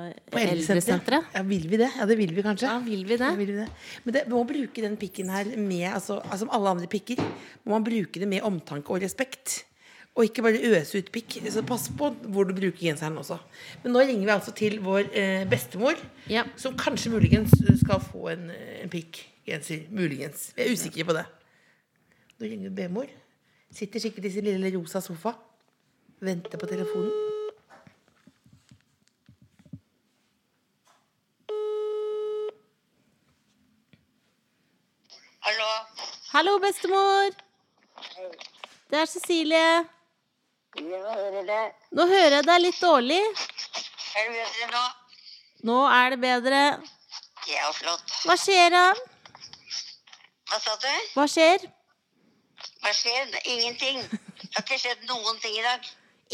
Speaker 4: eh,
Speaker 2: På
Speaker 4: eldresenteret?
Speaker 2: Ja, vil vi det? Ja, det vil vi kanskje.
Speaker 4: Ja, vil vi det?
Speaker 2: Ja, vil vi det? Men det, vi må bruke den pikken her med, altså, altså, som alle andre pikker, må man bruke det med omtanke og respekt. Og ikke bare øse ut pikk. Så pass på hvor du bruker genseren også. Men nå ringer vi altså til vår eh, bestemor,
Speaker 4: Ja.
Speaker 2: som kanskje muligens skal få en, eh, en pikkgenser. Muligens. Vi er usikre på det. Nå ringer vi bemor. Sitter sikkert i sin lille rosa sofa. Venter på telefonen.
Speaker 3: Hallo.
Speaker 4: Hallo, bestemor! Det er Cecilie.
Speaker 3: Ja, hører deg.
Speaker 4: Nå hører jeg deg litt dårlig.
Speaker 3: Er du bedre nå?
Speaker 4: Nå er det bedre.
Speaker 3: Ja, flott.
Speaker 4: Hva skjer da?
Speaker 3: Hva sa du?
Speaker 4: Hva skjer?
Speaker 3: Hva skjer? Ingenting. Det har ikke skjedd noen ting i dag.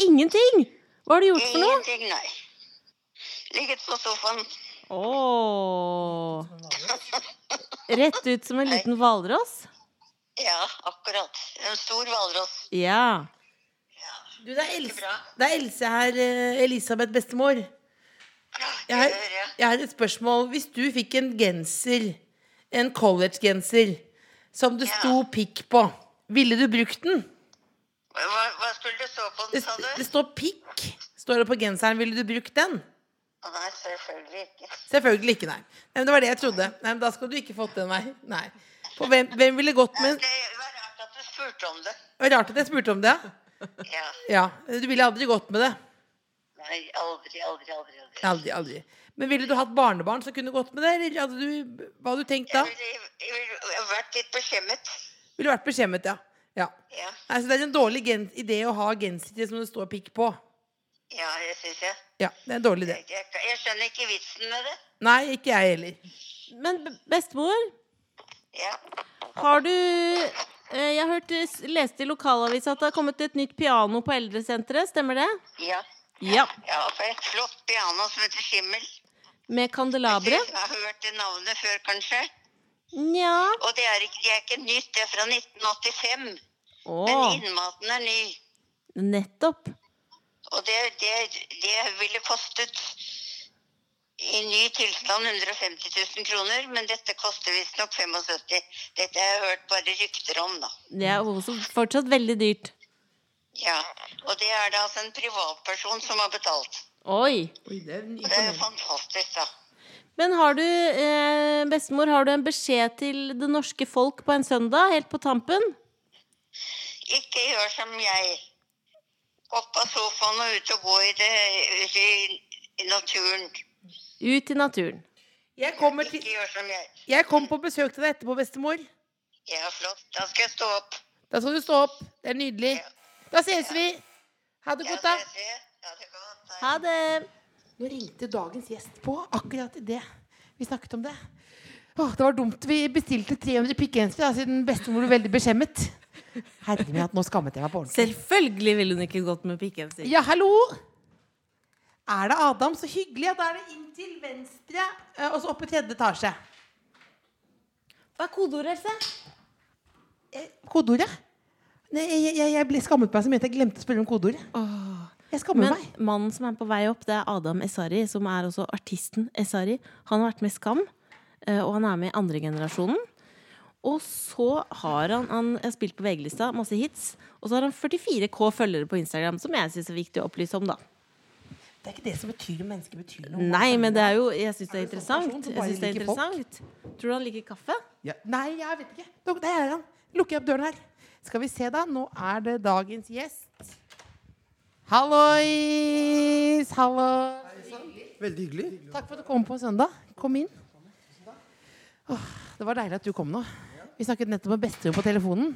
Speaker 4: Ingenting! Hva har du gjort for noe?
Speaker 3: Ingenting, nei. Ligget på sofaen.
Speaker 4: Åh. Rett ut som en liten hvalross?
Speaker 3: Ja, akkurat. En stor hvalross.
Speaker 4: Ja.
Speaker 2: Du, det er Else,
Speaker 3: bra.
Speaker 2: det er Else her, eh, Elisabeth, bestemor. Jeg har,
Speaker 3: Det hører jeg.
Speaker 2: jeg har et spørsmål. Hvis du fikk en genser, en collegegenser, som det
Speaker 3: Ja.
Speaker 2: sto pikk på, ville du brukt den?
Speaker 3: Hva, hva skulle du så på
Speaker 2: Det,
Speaker 3: den, sa
Speaker 2: det
Speaker 3: du?
Speaker 2: står pikk. Står det på genseren, ville du brukt den?
Speaker 3: Nei, selvfølgelig ikke.
Speaker 2: Selvfølgelig ikke, nei. nei men det var det jeg trodde. Nei, men Da skal du ikke fått den, nei. nei. For hvem, hvem ville gått med
Speaker 3: Det var rart at du spurte om det.
Speaker 2: Det var Rart at jeg spurte om det.
Speaker 3: Ja.
Speaker 2: Ja, Du ville aldri gått med det.
Speaker 3: Nei, aldri, aldri, aldri. aldri.
Speaker 2: Aldri, aldri. Men ville du hatt barnebarn som kunne gått med det, eller hadde du, hva hadde du tenkt da?
Speaker 3: Jeg ville, jeg ville vært litt beskjemmet.
Speaker 2: Ville vært beskjemmet, ja. ja.
Speaker 3: Ja,
Speaker 2: Nei, så det er en dårlig gen idé å ha genser som det står pikk på.
Speaker 3: ja det syns jeg.
Speaker 2: Ja, det er en dårlig idé.
Speaker 3: Jeg, jeg, jeg skjønner ikke vitsen med det.
Speaker 2: Nei, ikke jeg heller.
Speaker 4: Men b- bestemor,
Speaker 3: Ja.
Speaker 4: har du eh, Jeg har hørt, s- leste i lokalavisa at det har kommet et nytt piano på eldresenteret, stemmer det?
Speaker 3: Ja.
Speaker 4: Ja.
Speaker 3: ja for et flott piano som heter Skimmel.
Speaker 4: Med kandelabre?
Speaker 3: Jeg har hørt det navnet før, kanskje.
Speaker 4: Nja.
Speaker 3: Og det er ikke, det er ikke nytt, det er fra 1985. Men
Speaker 4: Åh,
Speaker 3: innmaten er ny.
Speaker 4: nettopp.
Speaker 3: Og det, det, det ville kostet i ny tilstand 150 000 kroner, men dette koster visstnok 75 Dette har jeg hørt bare rykter om, da.
Speaker 4: Det er også fortsatt veldig dyrt.
Speaker 3: Ja, og det er det altså en privatperson som har betalt.
Speaker 4: Oi.
Speaker 2: Oi, det er
Speaker 3: Det er jo
Speaker 2: imponerende.
Speaker 3: fantastisk, da.
Speaker 4: Men har du, eh, bestemor, har du en beskjed til det norske folk på en søndag, helt på tampen?
Speaker 3: Ikke gjør som jeg. Opp av sofaen og ut og gå i, det, ut i, i naturen.
Speaker 4: Ut i naturen.
Speaker 2: Jeg kommer til
Speaker 3: Ikke gjør som jeg.
Speaker 2: Jeg kom på besøk til deg etterpå, bestemor.
Speaker 3: Ja, flott. Da skal jeg stå opp.
Speaker 2: Da skal du stå opp. Det er nydelig. Da ses vi. Ha det
Speaker 3: Ja,
Speaker 2: godt, da.
Speaker 3: ses vi. Ja, det er godt. Hei.
Speaker 4: Ha det.
Speaker 2: Nå ringte dagens gjest på akkurat i det vi snakket om det. Åh, det var dumt. Vi bestilte 300 pikkgensere da, siden bestemor ble veldig beskjemmet. Herre min, at nå skammet jeg meg på ordentlig.
Speaker 4: Selvfølgelig ville hun ikke gått med pikkgenser.
Speaker 2: Ja, hallo! Er det Adam? Så hyggelig. Ja, da er det inn til venstre, eh, og så opp i tredje etasje.
Speaker 4: Hva er kodeordet, Else?
Speaker 2: Eh, Kodeordet? Nei, jeg, jeg, jeg ble skammet meg så mye at jeg glemte å spørre om kodeordet. Jeg skammer
Speaker 4: Men
Speaker 2: meg.
Speaker 4: mannen som er på vei opp, det er Adam Esari, som er også artisten Esari. Han har vært med i Skam, eh, og han er med i andre generasjonen. Og så har han, han har spilt på VG-lista, masse hits. Og så har han 44K følgere på Instagram, som jeg syns er viktig å opplyse om, da.
Speaker 2: Det er ikke det som betyr om mennesker betyr noe.
Speaker 4: Nei, men det er jo Jeg syns det er
Speaker 2: Er det sånn person
Speaker 4: interessant.
Speaker 2: som
Speaker 4: Jeg
Speaker 2: bare
Speaker 4: synes det er
Speaker 2: liker folk?
Speaker 4: interessant. Tror du han liker kaffe?
Speaker 2: Nei, jeg vet ikke. Nå, Der er han. Lukker jeg opp døren her. Skal vi se, da. Nå er det dagens gjest. Hallois! Hallo.
Speaker 5: Veldig hyggelig.
Speaker 2: Takk for at du kom på søndag. Kom inn. Åh, det var deilig at du kom nå. Vi snakket nettopp med bestemor på telefonen.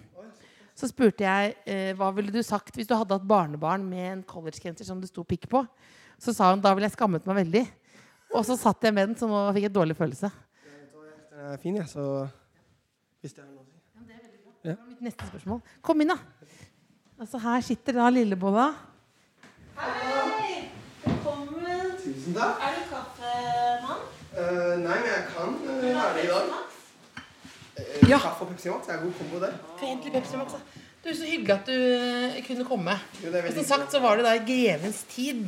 Speaker 2: Så spurte jeg eh, hva ville du sagt hvis du hadde hatt barnebarn med en collegegenser som det sto pikk på. Så sa hun da ville jeg skammet meg veldig. Og så satt jeg med den, så nå fikk jeg dårlig følelse.
Speaker 5: Den er fin, jeg, så Hvis det er noe å si.
Speaker 2: Mitt neste spørsmål. Kom inn, da. Altså, her sitter da lillebolla.
Speaker 4: Velkommen.
Speaker 5: Tusen takk.
Speaker 4: Er du kaffemann?
Speaker 5: Eh, nei, men jeg kan eh, være det i dag. Eh, Kaffe og Pepsi Max er en god kombo, det.
Speaker 2: Egentlig Pepsi Max. da. Du, Så hyggelig at du eh, kunne komme.
Speaker 5: Jo, det er
Speaker 2: Og
Speaker 5: veldig
Speaker 2: som sagt så var det da i grevens tid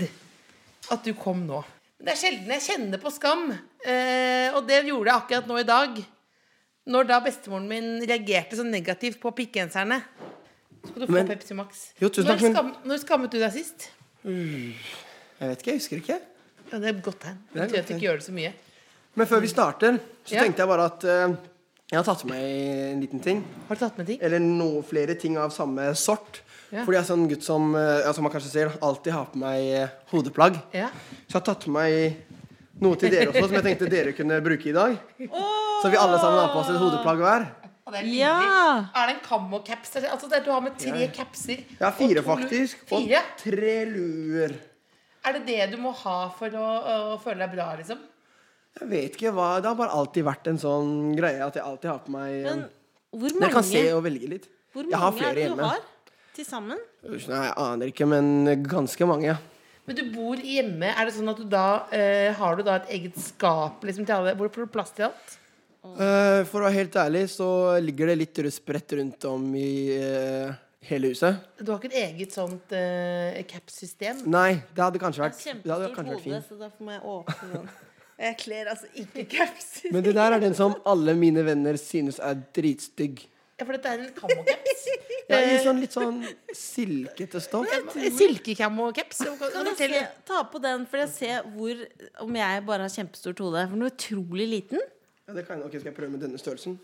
Speaker 2: at du kom nå. Men det er sjelden jeg kjenner på skam. Eh, og det gjorde jeg akkurat nå i dag. Når da bestemoren min reagerte så negativt på pikkgenserne. Skal du få
Speaker 5: Men-
Speaker 2: Pepsi Max.
Speaker 5: Jo, tusen
Speaker 2: når,
Speaker 5: takk, men-
Speaker 2: skam, når skammet du deg sist?
Speaker 5: Jeg vet ikke, jeg husker ikke.
Speaker 2: Ja, Det er et godt tegn.
Speaker 5: Det
Speaker 2: Det
Speaker 5: er
Speaker 2: betyr at
Speaker 5: et godt
Speaker 2: du
Speaker 5: tegn.
Speaker 2: ikke gjør det så mye.
Speaker 5: Men før vi starter, så
Speaker 2: Ja.
Speaker 5: tenkte jeg bare at eh, jeg har tatt med meg en liten ting.
Speaker 2: Har du tatt med ting?
Speaker 5: Eller noe flere ting av samme sort.
Speaker 2: Ja.
Speaker 5: Fordi jeg er sånn gutt som eh, ja, som man kanskje ser, alltid har på meg eh, hodeplagg.
Speaker 2: Ja.
Speaker 5: Så jeg har tatt med meg noe til dere også, som jeg tenkte dere kunne bruke i dag. Så vi alle sammen har på oss et hodeplagg hver.
Speaker 2: Og det er
Speaker 4: Ja.
Speaker 2: nydelig. Er det en kammo-caps? Altså det er- du har med tre capser.
Speaker 5: Jeg har fire,
Speaker 2: og to lu-
Speaker 5: faktisk. Og
Speaker 2: Fire?
Speaker 5: tre luer.
Speaker 2: Er det det du må ha for å, å føle deg bra, liksom?
Speaker 5: Jeg vet ikke hva Det har bare alltid vært en sånn greie at jeg alltid har på meg
Speaker 4: Men
Speaker 5: en
Speaker 4: hvor
Speaker 5: Dere kan se
Speaker 4: mange,
Speaker 5: og velge litt.
Speaker 4: hvor
Speaker 5: Jeg har
Speaker 4: mange er
Speaker 5: flere
Speaker 4: det du
Speaker 5: hjemme.
Speaker 4: har til sammen?
Speaker 5: Nei, jeg aner ikke, men ganske mange. ja.
Speaker 2: Men du bor hjemme. Er det sånn at du da eh, har du da et eget skap liksom, til alle? Hvor får du plass til alt?
Speaker 5: Eh, for å være helt ærlig så ligger det litt spredt rundt om i eh, hele huset.
Speaker 2: Du har ikke et eget sånt eh, caps-system?
Speaker 5: Nei, det hadde kanskje vært, det hadde
Speaker 4: Kjempestort
Speaker 5: kanskje vært
Speaker 4: hode,
Speaker 5: fint.
Speaker 4: så derfor må jeg åpne den. Jeg kler altså ikke caps.
Speaker 5: Men det der er den som alle mine venner synes er dritstygg.
Speaker 2: Ja, for dette er en kammo-caps.
Speaker 5: Ja, I sånn litt sånn silkete stoff.
Speaker 2: Silkekammo-caps.
Speaker 4: Kan jeg se, ta på den, for jeg ser hvor, om jeg bare har kjempestort hode. For den er utrolig liten.
Speaker 5: Ja, det kan jeg, ok, Skal jeg prøve med denne størrelsen?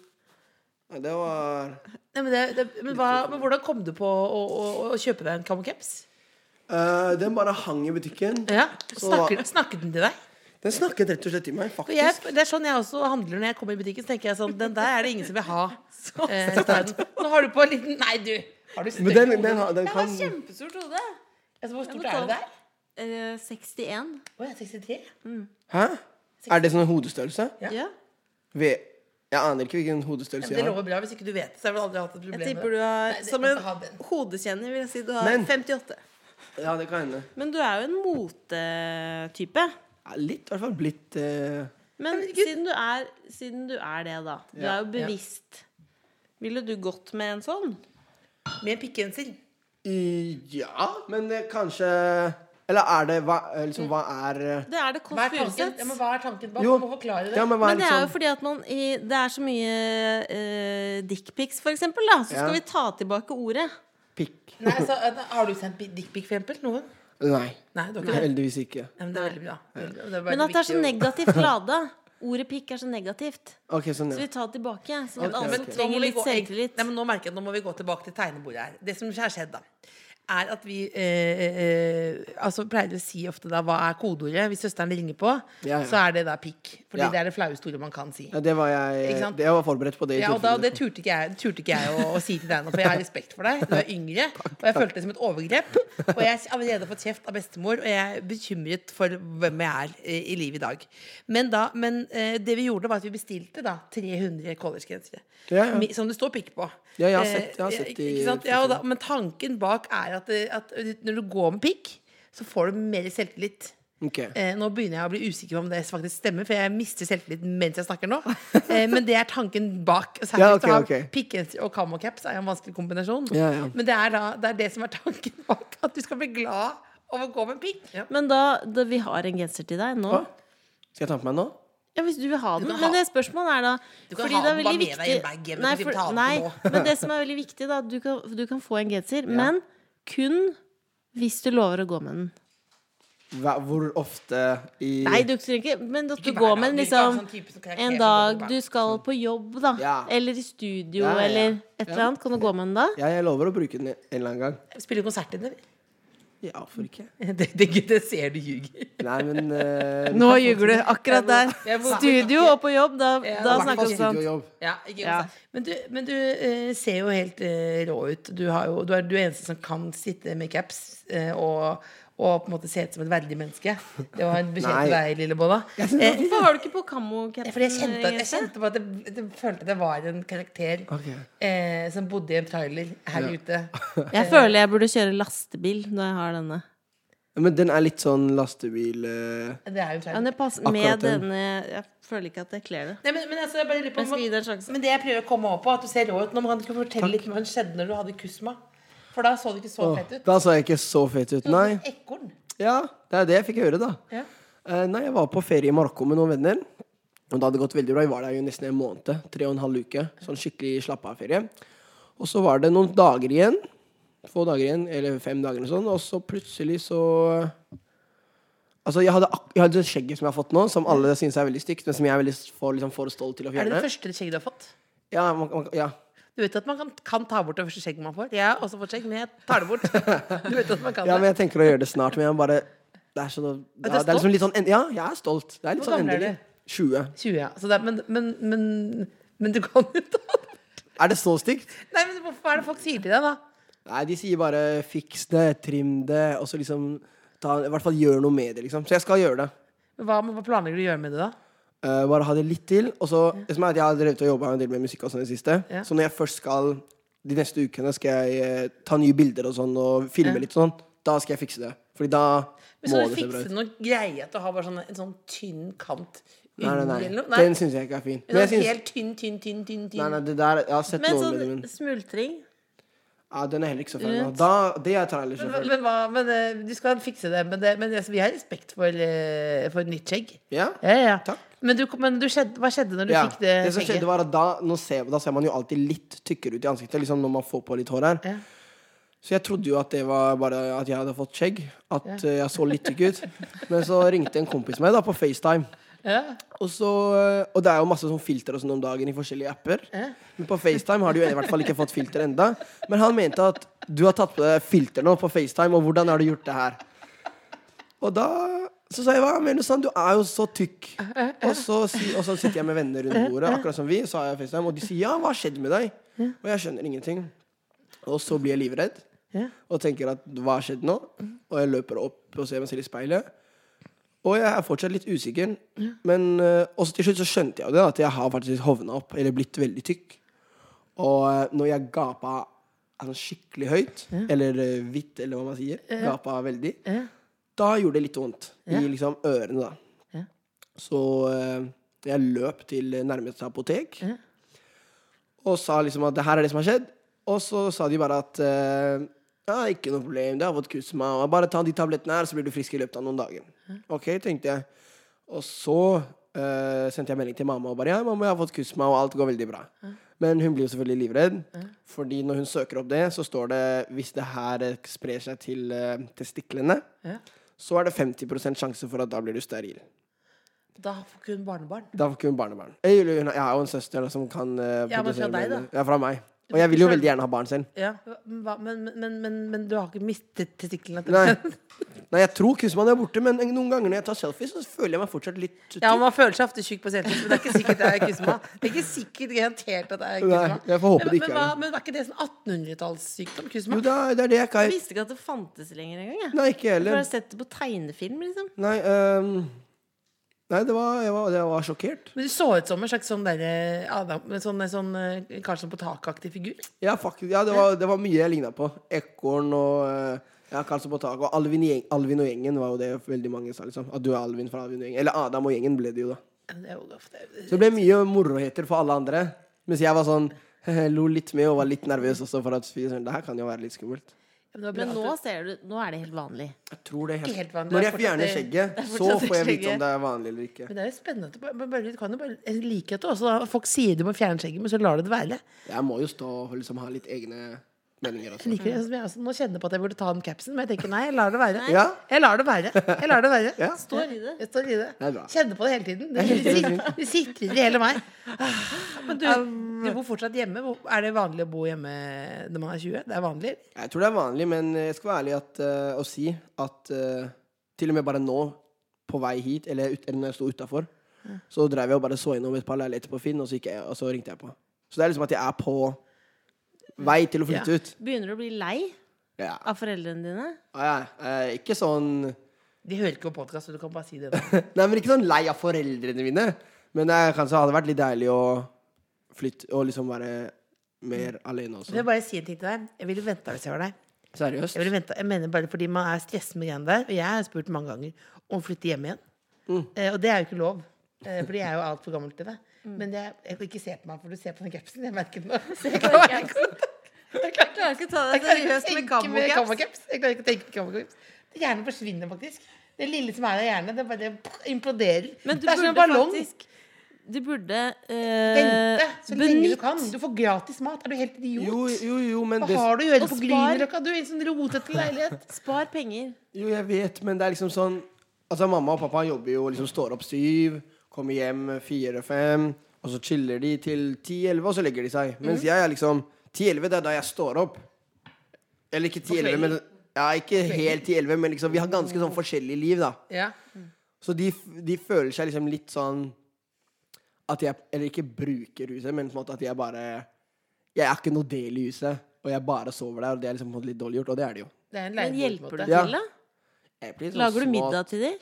Speaker 5: Nei, det var
Speaker 2: Nei, men, det, det, men, hva, men hvordan kom du på å, å, å kjøpe deg en kammo-caps?
Speaker 5: Eh, Den bare hang i butikken.
Speaker 2: Ja.
Speaker 5: Så-
Speaker 2: Snakker, snakket den til deg?
Speaker 5: Den snakket rett og slett til meg,
Speaker 2: For Jeg,
Speaker 5: faktisk.
Speaker 2: det er sånn jeg også handler når jeg kommer i butikken. Så tenker jeg sånn, Den der er det ingen som vil ha. Eh, nå har du på en liten Nei, du! Har du
Speaker 5: Men
Speaker 2: støkk
Speaker 5: den,
Speaker 2: i hodet?
Speaker 5: den, har- den
Speaker 4: Jeg har
Speaker 5: kan
Speaker 4: kjempestort hode.
Speaker 2: altså,
Speaker 4: Jeg
Speaker 2: Hvor
Speaker 4: må
Speaker 2: stort
Speaker 4: ta
Speaker 2: er det der?
Speaker 4: den. Eh, 61.
Speaker 2: Å, jeg er 63?
Speaker 5: Hæ? Er det sånn hodestørrelse?
Speaker 2: Ja.
Speaker 4: Ja.
Speaker 5: Ved- Jeg aner ikke hvilken hodestørrelse
Speaker 2: Det
Speaker 5: jeg har.
Speaker 2: lover bra. Hvis ikke du vet det, så har du aldri hatt et problem
Speaker 4: Jeg
Speaker 2: med
Speaker 4: tipper du har
Speaker 2: Nei, det-
Speaker 4: Som
Speaker 2: jeg
Speaker 4: en
Speaker 2: skal ha den.
Speaker 4: hodekjenner vil jeg si du har
Speaker 5: Men-
Speaker 4: 58.
Speaker 5: Ja, det kan hende.
Speaker 4: Men du er jo en motetype.
Speaker 5: Ja, litt, i hvert fall blitt eh,
Speaker 4: Men siden du, er, siden du er det, da. Du er
Speaker 5: Ja,
Speaker 4: jo bevisst. Ville du gått med en sånn?
Speaker 2: Med en pikkgenser.
Speaker 5: i- Ja, men eh, kanskje Eller er det hva, eh, liksom, hva er eh,
Speaker 4: Det er det Kåss
Speaker 2: Hva er tanken,
Speaker 4: Furuseth.
Speaker 2: ja, men hva er tanken bak?
Speaker 5: Jo.
Speaker 2: Du må forklare det.
Speaker 5: Ja, men hva
Speaker 4: Men
Speaker 5: er
Speaker 4: det er jo
Speaker 5: liksom
Speaker 4: fordi at man i, Det er så mye uh, dickpics, eh, for eksempel, da. Så
Speaker 5: Ja.
Speaker 4: skal vi ta tilbake ordet.
Speaker 5: pikk.
Speaker 2: Nei, så, eh, har du sendt dickpic for eksempel? Noen?
Speaker 5: Nei.
Speaker 2: Nei, du har ikke det?
Speaker 5: Heldigvis ikke.
Speaker 2: Nei, men det er veldig bra. Det er bare
Speaker 4: Men at det er sånn så
Speaker 2: viktig å-
Speaker 4: negativt lada. Ordet pikk er så negativt.
Speaker 5: Ok, sånn,
Speaker 4: Så vi
Speaker 5: ja.
Speaker 4: tar det tilbake. Sånn at
Speaker 5: Ok,
Speaker 4: alle
Speaker 5: men
Speaker 4: som
Speaker 5: nå
Speaker 4: trenger litt selvtillit
Speaker 2: Nei, men nå merker jeg at nå må vi gå tilbake til tegnebordet her. Det som har skjedd, da, er at vi eh, eh, altså pleier å si ofte da hva er kodeordet. Hvis søsteren ringer på,
Speaker 5: Ja, ja.
Speaker 2: så er det da pikk. Fordi
Speaker 5: Ja.
Speaker 2: det er det flaueste ordet man kan si.
Speaker 5: ja det var jeg,
Speaker 2: Ikke sant?
Speaker 5: det, jeg var forberedt på det. i
Speaker 2: Ja, og da,
Speaker 5: tilfelle.
Speaker 2: Det turte ikke jeg, turte ikke jeg å, å si til deg nå, for jeg har respekt for deg. Du er yngre, og jeg følte det som et overgrep. Og jeg har allerede fått kjeft av bestemor, og jeg er bekymret for hvem jeg er eh, i livet i dag. Men, da, men eh, det vi gjorde, var at vi bestilte da 300 collegegensere.
Speaker 5: Ja, ja.
Speaker 2: Mi- Som det står pikk på.
Speaker 5: Ja, jeg har sett- jeg har
Speaker 2: Eh,
Speaker 5: sett de-
Speaker 2: ikke sant? Ja, og da, men tanken bak er at, eh, at når du går med pikk, så får du mer selvtillit.
Speaker 5: Ok.
Speaker 2: Eh, nå begynner jeg å bli usikker på om det faktisk stemmer, for jeg mister selvtillit mens jeg snakker nå. Eh, men det er tanken bak. Særlig
Speaker 5: Ja, ok,
Speaker 2: å ha
Speaker 5: ok.
Speaker 2: pikkgenser og camocaps er jo en vanskelig kombinasjon.
Speaker 5: Ja, ja.
Speaker 2: Men det er, da, det er det som er tanken bak. At du skal bli glad av å gå med pikk.
Speaker 4: Men da, da Vi har en genser til deg nå.
Speaker 5: Hva? Skal jeg ta på meg nå?
Speaker 4: Ja, hvis du vil ha den.
Speaker 2: kan ha
Speaker 4: Men det spørsmålet er da
Speaker 2: Du kan
Speaker 4: fordi
Speaker 2: ha
Speaker 4: det er
Speaker 2: den
Speaker 4: veldig
Speaker 2: bare med deg i en
Speaker 4: viktig-
Speaker 2: bag, men
Speaker 4: Nei,
Speaker 2: du kan ikke
Speaker 4: for-
Speaker 2: ta den på
Speaker 4: nei,
Speaker 2: nå.
Speaker 4: men det som er veldig viktig, da Du kan, du kan få en genser, men kun hvis du lover å gå med den.
Speaker 5: Hva, hvor ofte i
Speaker 4: Nei, du trenger ikke Men at du
Speaker 2: Ikke hver
Speaker 4: går
Speaker 2: dag.
Speaker 4: med den
Speaker 2: Du skal ha
Speaker 4: liksom
Speaker 2: sånn type som kan
Speaker 4: en
Speaker 2: kle seg
Speaker 4: dag
Speaker 2: på
Speaker 4: du
Speaker 2: jobb.
Speaker 4: skal på jobb, da.
Speaker 5: Ja.
Speaker 4: Eller i studio,
Speaker 5: Ja, ja, ja.
Speaker 4: eller et eller annet. Kan du gå med den da?
Speaker 5: Ja, jeg lover å bruke den en eller annen gang.
Speaker 2: Spiller du konsert i den? eller?
Speaker 5: Ja, hvorfor ikke?
Speaker 2: Det, det, det ser du ljuger.
Speaker 5: Nei, men eh,
Speaker 4: Nå ljuger du. Akkurat der.
Speaker 2: Jeg må-
Speaker 4: Studio og på jobb, da, da
Speaker 5: i hvert fall
Speaker 4: snakker vi sånn.
Speaker 5: studiojobb.
Speaker 2: Ja, ikke
Speaker 4: Ja.
Speaker 2: konsert. Men du, men du eh, ser jo helt eh, rå ut. Du, har jo, du, er, du er eneste som kan sitte med caps eh, og, og på en måte se ut som et verdig menneske. Det var en beskjed til
Speaker 5: Nei.
Speaker 2: deg, Lillebolla. Eh,
Speaker 4: Hvorfor har du ikke på kammo-capsen?
Speaker 2: fordi jeg kjente, at, jeg
Speaker 4: Jens?
Speaker 2: kjente på at jeg, jeg følte at jeg var en karakter
Speaker 5: Ok.
Speaker 2: eh, som bodde i en trailer her ute.
Speaker 4: Jeg føler jeg burde kjøre lastebil når jeg har denne.
Speaker 5: Men den er litt sånn lastebil eh,
Speaker 2: Det er jo
Speaker 4: Ja, men
Speaker 2: en trailer.
Speaker 4: det passer
Speaker 5: Akkurat
Speaker 4: med
Speaker 5: den.
Speaker 4: denne Jeg føler ikke at jeg kler det.
Speaker 2: Nei, men, men, altså, jeg bare lurer på,
Speaker 4: Jeg skal gi deg en sjanse.
Speaker 2: men det jeg prøver å komme over på, er at du ser rå ut. Nå kan du ikke fortelle litt om hva som skjedde når du hadde kusma. For da så du ikke så
Speaker 5: åh,
Speaker 2: fett ut.
Speaker 5: Da så jeg ikke så fet ut, nei.
Speaker 2: Ekorn.
Speaker 5: Ja, det er det jeg fikk høre, da.
Speaker 2: Ja.
Speaker 5: Eh, nei, jeg var på ferie i Marokko med noen venner. Og det hadde gått veldig bra. Vi var der jo nesten en måned. Tre og en halv uke. Sånn skikkelig slappa av-ferie. Og så var det noen dager igjen. Få dager igjen, eller fem dager eller sånn. Og så plutselig så Altså, jeg hadde, ak- jeg hadde det skjegget som jeg har fått nå, som alle syns er veldig stygt, men som jeg er veldig s- for, liksom, for stolt til å
Speaker 2: Er det
Speaker 5: fjerne.
Speaker 2: det første skjegget du har fått?
Speaker 5: Ja, man, man, ja.
Speaker 2: Du vet at man kan, kan ta bort det første skjegget man får. Jeg har også fått skjegg, men jeg tar det bort. Du vet at man kan
Speaker 5: ja, men
Speaker 2: det.
Speaker 5: jeg tenker å gjøre det snart, men jeg bare Det er, så, det,
Speaker 2: er
Speaker 5: er, det er liksom
Speaker 2: stolt?
Speaker 5: litt sånn en- Ja, jeg er stolt. Det er litt
Speaker 2: Hvor
Speaker 5: sånn
Speaker 2: gammel er
Speaker 5: endelig. 20.
Speaker 2: 20, ja. Så det er, men, men, men, men du kan jo ta det.
Speaker 5: Er det så stygt?
Speaker 2: Nei, men hvorfor er det folk sier til deg, da?
Speaker 5: Nei, de sier bare 'fiks det', 'trim det', og så liksom ta, I hvert fall gjør noe med det, liksom. Så jeg skal gjøre det.
Speaker 2: Hva, hva planlegger du å gjøre med det, da?
Speaker 5: Eh, bare ha det litt til. Og så, det som er at Jeg har drevet og jobba en del med musikk og sånn i det siste.
Speaker 2: Ja.
Speaker 5: Så når jeg først skal De neste ukene skal jeg eh, ta nye bilder og sånn og filme litt sånn. Da skal jeg fikse det. Fordi da
Speaker 2: Men
Speaker 5: må
Speaker 2: så du
Speaker 5: det se bra
Speaker 2: fikse
Speaker 5: ut.
Speaker 2: noe greie at du har bare sånn, en sånn tynn kant
Speaker 5: Nei,
Speaker 2: under
Speaker 5: nei,
Speaker 2: eller
Speaker 5: nei.
Speaker 2: noe?
Speaker 5: Den syns jeg ikke er fin. Men
Speaker 2: En
Speaker 5: jeg
Speaker 2: sånn
Speaker 5: syns
Speaker 2: helt tynn, tynn, tynn, tynn, tynn.
Speaker 5: Nei, nei, det der Jeg har sett
Speaker 4: Men
Speaker 5: noen bilder,
Speaker 4: sånn
Speaker 5: men
Speaker 4: smultring
Speaker 5: ja, den er heller ikke så fin. Da, det er trailersjåfør.
Speaker 2: Men, men, hva, men eh, du skal fikse det. Men, det, men altså, vi har respekt for, eh, for nytt skjegg.
Speaker 5: Ja.
Speaker 2: Ja, ja.
Speaker 5: Takk.
Speaker 2: Men, du, men du skjedde, hva skjedde når du
Speaker 5: Ja.
Speaker 2: fikk det,
Speaker 5: som skjedde, var at da, nå ser, da ser man jo alltid litt tykkere ut i ansiktet, liksom når man får på litt hår her.
Speaker 2: Ja.
Speaker 5: Så jeg trodde jo at det var bare at jeg hadde fått skjegg. At eh, jeg så litt tykk ut. Men så ringte en kompis meg da på FaceTime.
Speaker 2: Ja.
Speaker 5: Og, så, eh, og det er jo masse sånn filter og sånn om dagen i forskjellige apper. Men på FaceTime har de jo i hvert fall ikke fått filter enda Men han mente at du har tatt på deg filter nå på FaceTime, og hvordan har du gjort det her? Og da så sa jeg hva mener du sånn, du er jo så tykk. Og så, si, og så sitter jeg med venner rundt bordet, akkurat som vi, så har jeg FaceTime, og de sier ja, hva har skjedd med deg? Og jeg skjønner ingenting. Og så blir jeg livredd og tenker at hva har skjedd nå? Og jeg løper opp og ser meg selv i speilet. Og jeg er fortsatt litt usikker. Men eh, også til slutt så skjønte jeg jo det, at jeg har faktisk hovna opp, eller blitt veldig tykk. Og eh, når jeg gapa altså, skikkelig høyt, eller eh, hvitt, eller hva man sier, gapa veldig, da gjorde det litt vondt i liksom ørene, da. Så eh, jeg løp til nærmeste apotek og sa liksom at det her er det som har skjedd. Og så sa de bare at eh, ja, ikke noe problem, det har fått kusma. Og bare ta de tablettene her, så blir du frisk i løpet av noen dager. Ok, tenkte jeg. Og så eh, sendte jeg melding til mamma og bare ja, mamma, jeg har fått kusma, og alt går veldig bra. Men hun blir jo selvfølgelig livredd, Fordi når hun søker opp det, så står det hvis det her eh, sprer seg til eh, testiklene,
Speaker 2: Ja.
Speaker 5: så er det 50 sjanse for at da blir du steril.
Speaker 2: Da får ikke hun barnebarn.
Speaker 5: Da får ikke hun barnebarn. Jeg, vil jo- jeg har jo en søster da, som kan eh,
Speaker 2: Ja, men fra
Speaker 5: produsere
Speaker 2: deg, da?
Speaker 5: blod. Ja, fra meg. Og jeg vil jo veldig gjerne ha barn selv.
Speaker 2: Ja, men, hva- men, men, men, men du har ikke mistet testiklene? etter
Speaker 5: Nei.
Speaker 2: den?
Speaker 5: Nei, jeg tror kusmannen er borte, men noen ganger når jeg tar selfie, så føler jeg meg fortsatt litt tykk.
Speaker 2: Ja, Man føler seg ofte tjukk på selvtillit, men det er ikke sikkert det er kusma. Det er ikke sikkert garantert at det er kusma.
Speaker 5: Nei, jeg får håpe
Speaker 2: men,
Speaker 5: det ikke
Speaker 2: men,
Speaker 5: er
Speaker 2: hva,
Speaker 5: det.
Speaker 2: men var ikke det sånn 1800-tallssykdom?
Speaker 5: Jo,
Speaker 2: Kusma?
Speaker 5: det er, det er det jeg
Speaker 4: Jeg
Speaker 5: kan
Speaker 4: visste ikke at det fantes lenger engang. Jeg.
Speaker 5: Nei, ikke
Speaker 4: Jeg
Speaker 5: jeg
Speaker 4: har
Speaker 5: heller.
Speaker 4: bare sett det på tegnefilm, liksom.
Speaker 5: Nei, øhm, nei det var, jeg, var, jeg var sjokkert.
Speaker 2: Men du så ut som en slags sånn derre Adam en sånn, en sånn eh, Karlsson på taket-aktig figur.
Speaker 5: Ja, faktisk, ja det, var, det var mye jeg ligna på. Ekorn og øh, ja, Karlsson på taket. Og Alvin, i gjeng- Alvin og gjengen var jo det veldig mange sa. liksom At du er Alvin fra Alvin og gjengen. Eller Adam og gjengen ble det jo, da.
Speaker 2: Ja, men Det er jo ofte
Speaker 5: Så det ble mye moroheter for alle andre. Mens jeg var sånn lo litt med og var litt nervøs også for at fy søren, det her kan jo være litt skummelt.
Speaker 2: Men det var bra
Speaker 4: Men
Speaker 2: at
Speaker 4: nå
Speaker 2: du-
Speaker 4: ser du Nå er det helt vanlig.
Speaker 5: Jeg tror det er
Speaker 2: Ikke helt vanlig,
Speaker 5: Når
Speaker 2: det er
Speaker 5: jeg fjerner
Speaker 2: fortsatt-
Speaker 5: skjegget,
Speaker 2: det er
Speaker 5: så
Speaker 2: fortsatt
Speaker 5: får jeg vite
Speaker 2: skjegget.
Speaker 5: om det er vanlig eller ikke.
Speaker 2: Men det er jo spennende. at du bare- Men bare, du kan jo bare, jeg liker at du også da, folk sier du må fjerne skjegget, men så lar du det være.
Speaker 5: Jeg må jo stå og liksom ha litt egne meninger
Speaker 2: Jeg
Speaker 5: også.
Speaker 2: liker det, som jeg også, Nå kjenner jeg på at jeg burde ta den capsen, men jeg tenker nei, jeg lar det være.
Speaker 5: Ja.
Speaker 2: Jeg lar det være. Jeg lar det være.
Speaker 5: Ja.
Speaker 4: Står i det.
Speaker 2: Jeg står i det.
Speaker 5: Det er bra.
Speaker 2: Kjenner på det hele tiden. Det, det, sit- det sitrer i hele meg. Ah, Men du, du bor fortsatt hjemme. Hvor- Er det vanlig å bo hjemme når man er 20? Det er vanlig?
Speaker 5: Jeg tror det er vanlig, men jeg skal være ærlig at, eh, og si at eh, til og med bare nå, på vei hit, eller, ut, eller når jeg sto utafor, så drev jeg og bare så innom et par leiligheter på Finn, og så, gikk jeg, og så ringte jeg på. Så det er liksom at jeg er på vei til å flytte
Speaker 2: Ja.
Speaker 5: ut.
Speaker 4: Begynner du å bli lei
Speaker 5: Ja.
Speaker 4: av foreldrene dine?
Speaker 5: Ah, ja. Eh, ikke sånn
Speaker 2: De hører ikke på podkast, så du kan bare si det. nå.
Speaker 5: Nei, men ikke sånn lei av foreldrene mine. Men det er- kanskje hadde vært litt deilig å flytte og liksom være mer
Speaker 2: Så
Speaker 5: alene
Speaker 2: vil
Speaker 5: også.
Speaker 2: jeg bare si en ting til deg. Jeg ville venta hvis jeg var deg. Jeg,
Speaker 5: Seriøst?
Speaker 2: ville ventet, jeg mener bare fordi man er stresset med greiene der. Og jeg har spurt mange ganger om å flytte hjem igjen.
Speaker 5: Mm.
Speaker 2: Eh, og det er jo ikke lov. Eh, fordi jeg er jo altfor gammel til det. Men det, jeg kan ikke se på meg, for du ser på den capsen. Jeg merker den nå. Jeg klarer ikke å-
Speaker 4: Jeg klarer ikke å ta deg
Speaker 2: jeg klarer ikke å
Speaker 4: seriøst med
Speaker 2: tenke med
Speaker 4: kammokaps.
Speaker 2: kammokaps. Jeg klarer ikke å tenke med kammokaps. Hjernen forsvinner faktisk. Det lille som er av hjernen, det bare imploderer.
Speaker 4: Men du
Speaker 2: det er som en
Speaker 4: burde
Speaker 2: ballong.
Speaker 4: faktisk Du burde eh,
Speaker 2: Vente så lenge du
Speaker 4: benytt
Speaker 2: kan. Du får gratis mat. Er du helt idiot?
Speaker 5: Jo, jo, jo, men
Speaker 2: Hva
Speaker 5: det,
Speaker 2: har du å gjøre
Speaker 4: Og
Speaker 2: på
Speaker 4: spar.
Speaker 2: Grünerløkka? Du er i en sånn rotete leilighet.
Speaker 4: Spar penger.
Speaker 5: jo, jeg vet, men det er liksom sånn Altså, mamma og pappa jobber jo liksom står opp syv, kommer hjem fire-fem, og så chiller de til ti-elleve, og så legger de seg.
Speaker 2: Mhm.
Speaker 5: Mens jeg er liksom Ti-elleve, det er da jeg står opp. Eller ikke ti-elleve, men Ja, ikke helt ti-elleve, men liksom Vi har ganske sånn forskjellig liv, da.
Speaker 2: Ja.
Speaker 5: Så de, de føler seg liksom litt sånn At jeg Eller ikke bruker huset, men på en måte at jeg bare Jeg er ikke noe del i huset, og jeg bare sover der, og det er liksom på en måte litt dårlig gjort, og det er det jo.
Speaker 2: Det er en
Speaker 4: Men
Speaker 2: leilighet, på en
Speaker 4: hjelper du
Speaker 2: måte.
Speaker 5: Ja.
Speaker 4: til, da?
Speaker 5: Jeg blir sånn
Speaker 4: Lager du
Speaker 5: små-
Speaker 4: middag til dem?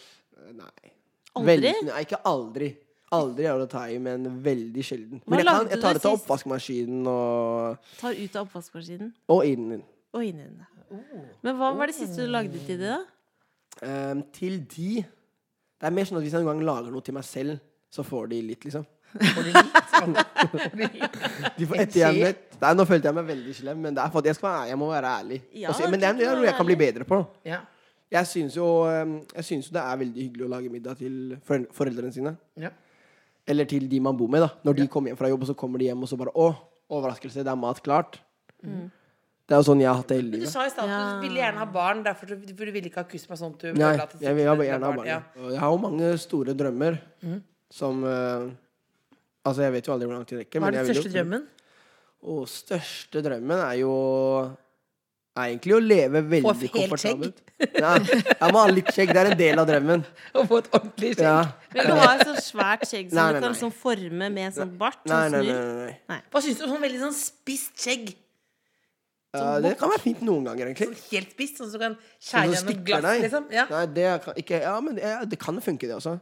Speaker 5: Nei.
Speaker 4: Aldri?
Speaker 5: Veldig- nei, ikke aldri. Aldri er det å ta i, men veldig sjelden. Men jeg,
Speaker 4: lagde
Speaker 5: kan, jeg tar
Speaker 4: du
Speaker 5: det til
Speaker 4: sist?
Speaker 5: oppvaskmaskinen og,
Speaker 4: Tar ut av oppvaskmaskinen
Speaker 5: og innen.
Speaker 4: og inn i den.
Speaker 2: Oh.
Speaker 4: Men hva var det siste du lagde til dem, da?
Speaker 5: Ehm, til de Det er mer sånn at hvis jeg noen gang lager noe til meg selv, så får de litt, liksom. De får ettergjernet. Nei, nå følte jeg meg veldig slem, men det er for at jeg, skal være, jeg må være ærlig.
Speaker 4: Ja,
Speaker 5: Og si- men det er,
Speaker 4: du
Speaker 5: det er
Speaker 4: må
Speaker 5: noe jeg kan bli
Speaker 4: være
Speaker 5: bedre på.
Speaker 2: Ja.
Speaker 5: Jeg syns jo, eh, jeg synes jo det er veldig hyggelig å lage middag til forel- foreldrene sine.
Speaker 2: Ja.
Speaker 5: Eller til de man bor med, da. Når de kommer hjem fra jobb, og så kommer de hjem, og så bare Å, overraskelse, det er mat klart.
Speaker 2: Mm.
Speaker 5: Det er jo sånn jeg har hatt det hele
Speaker 2: Du
Speaker 5: livet.
Speaker 2: sa i stad at du ville gjerne ha barn, derfor du, for du ville ikke ha kuss meg sånn at du
Speaker 5: Nei,
Speaker 2: føler at det
Speaker 5: jeg vil jeg vil
Speaker 2: sitter
Speaker 5: gjerne ha
Speaker 2: barn,
Speaker 5: barn.
Speaker 2: ja.
Speaker 5: ja. Og Jeg har jo mange store drømmer
Speaker 2: Mm.
Speaker 5: som eh, Altså, jeg vet jo aldri hvor langt de rekker.
Speaker 2: Hva
Speaker 5: men
Speaker 2: er
Speaker 5: jeg
Speaker 2: den
Speaker 5: vil jo-
Speaker 2: største drømmen?
Speaker 5: Og største drømmen er jo er egentlig å leve veldig
Speaker 2: helt
Speaker 5: komfortabelt. Ja, jeg må ha litt skjegg. Det er en del av drømmen.
Speaker 2: Å få et ordentlig skjegg?
Speaker 5: Ja.
Speaker 4: Vil du ha et sånt svært skjegg som
Speaker 5: Nei, nei,
Speaker 4: du kan
Speaker 5: nei.
Speaker 4: sånn forme med sånn bart?
Speaker 5: Nei,
Speaker 4: Sånn
Speaker 5: nei, nei.
Speaker 4: snurr?
Speaker 5: nei, nei.
Speaker 2: Hva syns du om sånn veldig sånn spisst skjegg?
Speaker 5: Ja, det kan være fint noen ganger, egentlig.
Speaker 2: Helt spisst, sånn at du kan
Speaker 5: Sånn
Speaker 2: skjære
Speaker 5: som
Speaker 2: gjennom
Speaker 5: stikker
Speaker 2: glass,
Speaker 5: deg.
Speaker 2: liksom? Ja.
Speaker 5: Nei, det kan ikke Ja, men det, det kan funke, det også.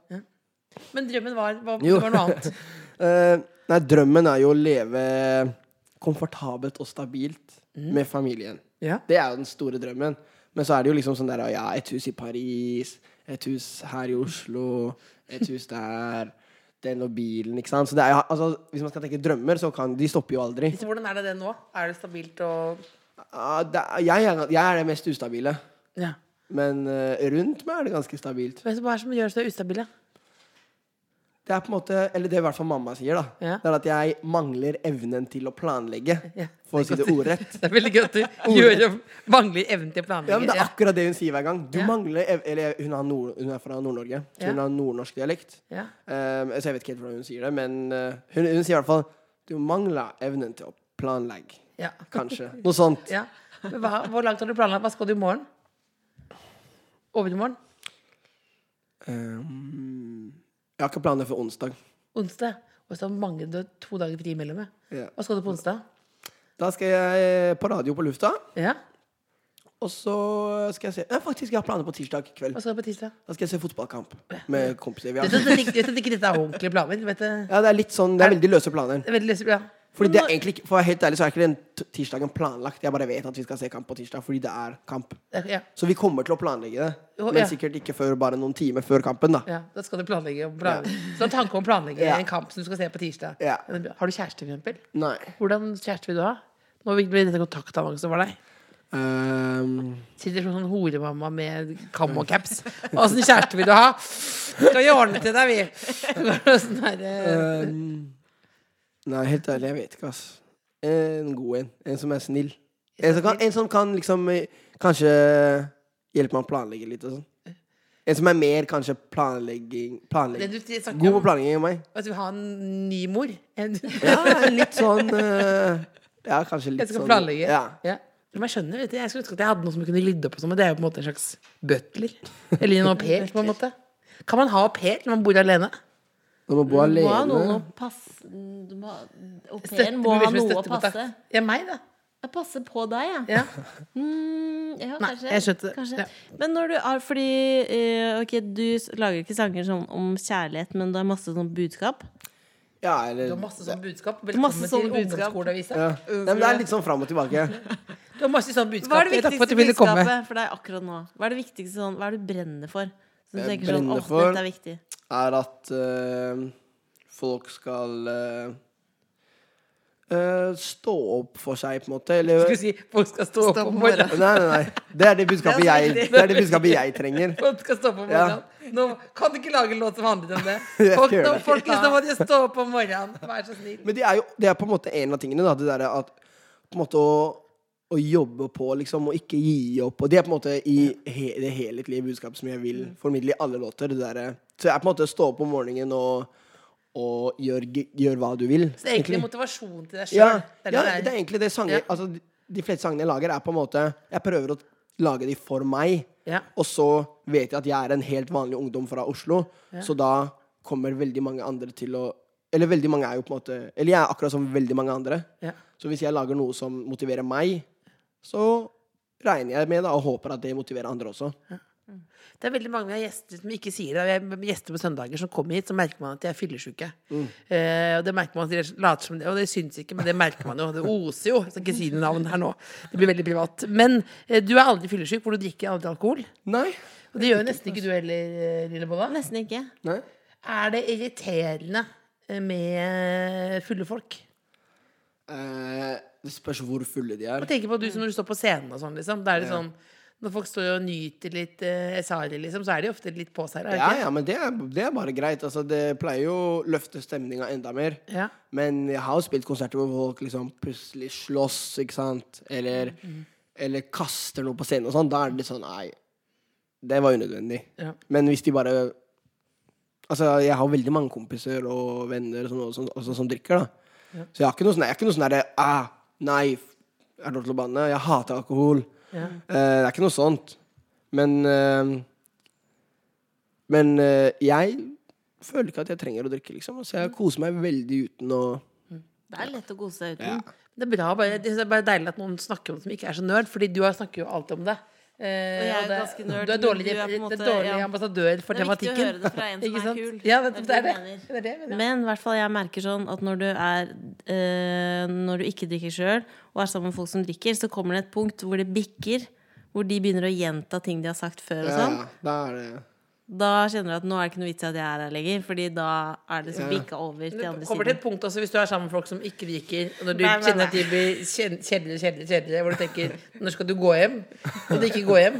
Speaker 2: Men drømmen var, var,
Speaker 5: Jo.
Speaker 2: var noe annet.
Speaker 5: Eh, nei, drømmen er jo å leve komfortabelt og stabilt
Speaker 2: Mm.
Speaker 5: med familien.
Speaker 2: Ja.
Speaker 5: Det er jo den store drømmen. Men så er det jo liksom sånn der ja, et hus i Paris, et hus her i Oslo, et hus der, den og bilen, ikke sant. Så det er jo, altså, hvis man skal tenke drømmer, så kan De stopper jo aldri.
Speaker 2: Så hvordan er det det nå? Er det stabilt og
Speaker 5: Ja, det, er- jeg, er- jeg er det mest ustabile.
Speaker 2: ja.
Speaker 5: Men eh, rundt meg er det ganske stabilt.
Speaker 2: Hva er det som gjør så ustabil, da?
Speaker 5: Det er på en måte, eller det i hvert fall mamma sier, da.
Speaker 2: Ja.
Speaker 5: Det er at jeg mangler evnen til å planlegge,
Speaker 2: Ja,
Speaker 5: for å si det ordrett.
Speaker 2: Det er veldig gøy at du gjør, mangler evnen til å
Speaker 5: Ja,
Speaker 2: planlegge.
Speaker 5: men Det er akkurat det hun sier hver gang. Du
Speaker 2: Ja.
Speaker 5: mangler ev Eller hun, har nord hun er fra Nord-Norge, så
Speaker 2: Ja.
Speaker 5: hun har nordnorsk dialekt.
Speaker 2: Ja.
Speaker 5: Um, så jeg vet ikke helt hvordan hun sier det, men uh, hun, hun sier i hvert fall Du mangler evnen til å planlegge.
Speaker 2: Ja.
Speaker 5: Kanskje. Noe sånt.
Speaker 2: Ja. Men hva, hvor langt har du planlagt? Hva skal du i morgen? Over i morgen?
Speaker 5: Um, jeg har ikke planer for onsdag.
Speaker 2: Onsdag? Og så mangler du to dager fri imellom. ja.
Speaker 5: Ja.
Speaker 2: Hva skal du på onsdag?
Speaker 5: Da skal jeg eh, på radio på lufta,
Speaker 2: Ja?
Speaker 5: og så skal jeg se Nei, faktisk, jeg har planer på tirsdag kveld.
Speaker 2: Hva skal du på tirsdag?
Speaker 5: Da skal jeg se fotballkamp med kompiser. Vi
Speaker 2: Du
Speaker 5: har.
Speaker 2: vet at det ikke- vet at ikke dette er ordentlige planer? du Vet det.
Speaker 5: Ja, det er litt sånn, det er veldig løse planer.
Speaker 2: Det er veldig løse planer.
Speaker 5: Fordi det er egentlig ikke, For å være helt ærlig så er ikke den t- tirsdagen planlagt. Jeg bare vet at vi skal se kamp på tirsdag, fordi det er kamp.
Speaker 2: Det er- Ja,
Speaker 5: Så vi kommer til å planlegge det,
Speaker 2: Jo,
Speaker 5: men
Speaker 2: ja.
Speaker 5: sikkert ikke før bare noen timer før kampen. da
Speaker 2: ja. Da skal du planlegge. og planlegge. Så tanke om å planlegge
Speaker 5: Ja.
Speaker 2: en kamp som du skal se på tirsdag.
Speaker 5: Ja.
Speaker 2: Har du kjæreste, for eksempel?
Speaker 5: Nei.
Speaker 2: Hvordan kjæreste vil du ha? Nå blir dette kontaktannonsen for deg.
Speaker 5: Ehm,
Speaker 2: Sitter som sånn horemamma med kam og caps. Åssen kjæreste vil du ha? Skal vi ordne til deg, vi? Sånn der,
Speaker 5: ehm, nei, helt ærlig, jeg vet ikke, ass. En god en. En som er snill. En som kan, en som kan liksom eh, Kanskje hjelpe meg å planlegge litt og sånn. En som er mer kanskje planlegging,
Speaker 2: Det
Speaker 5: planlegging.
Speaker 2: du snakker
Speaker 5: God på
Speaker 2: om,
Speaker 5: planlegging enn meg.
Speaker 2: at du har en ny mor. En,
Speaker 5: Ja, litt sånn eh, Ja, kanskje litt
Speaker 2: jeg skal
Speaker 5: sånn
Speaker 2: planlegge.
Speaker 5: Ja.
Speaker 2: Ja. Men jeg skjønner, vet du, jeg skulle ønske at jeg hadde noen som jeg kunne rydde opp og sånn, men det er jo på en måte en slags butler. Eller en au pair, på en måte. Kan man ha au pair når man bor alene?
Speaker 5: Når man bor
Speaker 4: Du må ha noen å
Speaker 5: alene
Speaker 4: passe du må- Au
Speaker 2: Støtte-
Speaker 4: pairen må ha
Speaker 2: virkelig
Speaker 4: noe å
Speaker 2: støttekontakt.
Speaker 4: passe.
Speaker 2: Ja, meg, da.
Speaker 4: Jeg passer på deg, jeg.
Speaker 2: Ja.
Speaker 4: Mm, ja,
Speaker 2: Nei,
Speaker 4: kanskje.
Speaker 2: jeg skjønte det.
Speaker 4: Kanskje.
Speaker 2: Ja.
Speaker 4: Men når du er Fordi eh, ok, du s- lager ikke sanger sånn om kjærlighet, men du har masse sånn budskap.
Speaker 5: Ja, eller
Speaker 2: Du har masse sånn sånne budskap.
Speaker 4: Masse
Speaker 2: Velkommen
Speaker 4: sånne
Speaker 2: til
Speaker 4: budskap.
Speaker 2: ungdomsskoleavisa.
Speaker 5: ja. Nei, men Det er litt sånn fram og tilbake.
Speaker 2: Du har masse sånne budskap.
Speaker 4: Hva er det
Speaker 2: Takk for
Speaker 4: viktigste
Speaker 2: at du ville komme.
Speaker 4: budskapet for deg akkurat nå? Hva er det viktigste sånn, hva er det du brenner for? Så du
Speaker 5: Jeg
Speaker 4: tenker sånn,
Speaker 5: brenner
Speaker 4: åh,
Speaker 5: for-
Speaker 4: dette er viktig
Speaker 5: Er at eh, folk skal eh, eh, stå opp for seg, på en måte. Eller
Speaker 2: Skulle si folk skal stå opp
Speaker 6: Stå opp
Speaker 2: om
Speaker 6: om
Speaker 5: Nei,
Speaker 2: morgenen.
Speaker 5: nei, nei. Det er det budskapet jeg, det er det budskapet jeg trenger.
Speaker 2: Folk skal stå opp om
Speaker 5: Ja.
Speaker 2: morgenen. Nå kan du ikke lage en låt som handler om det.
Speaker 5: Jeg
Speaker 2: Folk,
Speaker 5: gjør
Speaker 2: nå,
Speaker 5: det.
Speaker 2: folkens, nå må dere stå opp om morgenen. Vær så snill.
Speaker 5: Men det er jo det er på en måte en av tingene, da. Det derre at på en måte å, å jobbe på, liksom, og ikke gi opp. Og det er på en måte i he, det helhetlige budskapet som jeg vil
Speaker 2: Mm.
Speaker 5: formidle i alle låter. Det derre Så jeg er på en måte stå opp om morgenen og, og gjør, g- gjør hva du vil.
Speaker 2: Så det er egentlig motivasjon til deg sjøl.
Speaker 5: ja,
Speaker 2: det er
Speaker 5: ja,
Speaker 2: det det er.
Speaker 5: det er egentlig det sanger
Speaker 2: Ja.
Speaker 5: Altså, de- de fleste sangene jeg lager, er på en måte Jeg prøver å lage de for meg.
Speaker 2: Ja.
Speaker 5: Og så vet jeg at jeg er en helt vanlig ungdom fra Oslo, så da kommer veldig mange andre til å Eller veldig mange er jo på en måte Eller jeg er akkurat som veldig mange andre.
Speaker 2: Ja.
Speaker 5: Så hvis jeg lager noe som motiverer meg, så regner jeg med da, og håper at det motiverer andre også.
Speaker 2: Det er veldig mange vi har gjester som ikke sier det. Vi har gjester på søndager som kommer hit, så merker man at de er fyllesyke.
Speaker 5: Mm.
Speaker 2: Eh, og det merker man at de later som det, og det syns ikke, men det merker man jo. Det oser jo. Jeg skal ikke si noe navn her nå. Det blir veldig privat. Men eh, du er aldri fyllesyk, for du drikker aldri alkohol.
Speaker 5: Nei.
Speaker 2: Og det gjør jo nesten ikke du heller, eh, lille Bolla.
Speaker 4: Nesten ikke
Speaker 5: Nei.
Speaker 2: Er det irriterende eh, med fulle folk?
Speaker 5: Eh, det spørs hvor fulle de er.
Speaker 2: Jeg tenker på du som når du står på scenen og sånn, liksom. Da er det sånn når folk står og nyter litt eh, Esari, liksom, så er de ofte litt på seg. er det
Speaker 5: Ja,
Speaker 2: ikke?
Speaker 5: ja, men det er, det er bare greit. Altså, det pleier jo å løfte stemninga enda mer.
Speaker 2: Ja.
Speaker 5: Men jeg har jo spilt konserter hvor folk liksom plutselig slåss, ikke sant? Eller, eller kaster noe på scenen og sånn. Da er det litt sånn Nei, det var unødvendig.
Speaker 2: Ja.
Speaker 5: Men hvis de bare Altså, jeg har veldig mange kompiser og venner som, som, også, som drikker, da. Så jeg har ikke noe sånn Jeg er ikke noe sånn derre ah, Nei, f- er det lov til å banne? Jeg hater alkohol. Eh, det er ikke noe sånt. Men eh, Men eh, jeg føler ikke at jeg trenger å drikke, liksom. Så jeg koser meg veldig uten å
Speaker 4: Det er lett å kose seg uten
Speaker 2: Det er bra, bare, det er bare deilig at noen snakker om det som ikke er så nerd, fordi du har- snakker jo alltid om det.
Speaker 4: Og
Speaker 2: Eh,
Speaker 4: jeg er
Speaker 2: det,
Speaker 4: ganske nerd,
Speaker 2: du er
Speaker 4: men
Speaker 2: dårlig,
Speaker 4: du er på en måte-
Speaker 2: det er dårlig
Speaker 4: ja.
Speaker 2: ambassadør for
Speaker 4: Det er viktig å
Speaker 2: tematikken.
Speaker 4: høre det fra en som
Speaker 2: Ikke
Speaker 4: er
Speaker 2: sant?
Speaker 4: kul.
Speaker 2: Ja, det, det,
Speaker 4: Det er
Speaker 2: er det.
Speaker 4: det jeg
Speaker 2: det, er det jeg mener.
Speaker 4: Men i hvert fall jeg merker sånn at når du er eh, Når du ikke drikker sjøl, og er sammen med folk som drikker, så kommer det et punkt hvor det bikker. Hvor de begynner å gjenta ting de har sagt før. og
Speaker 5: Ja,
Speaker 4: sånn
Speaker 5: ja, da er det
Speaker 4: Da kjenner du at nå er det ikke noe vits i at jeg er her lenger. Fordi da er det så bikka over til
Speaker 2: Det
Speaker 4: andre
Speaker 2: kommer til
Speaker 4: siden.
Speaker 2: et punkt også hvis du er sammen med folk som ikke drikker, og når du
Speaker 4: Nei, nei,
Speaker 2: kjenner at de blir kjen- kjedeligere, kjedeligere, kjedeligere, hvor du tenker når skal du gå hjem? Og du ikke går hjem.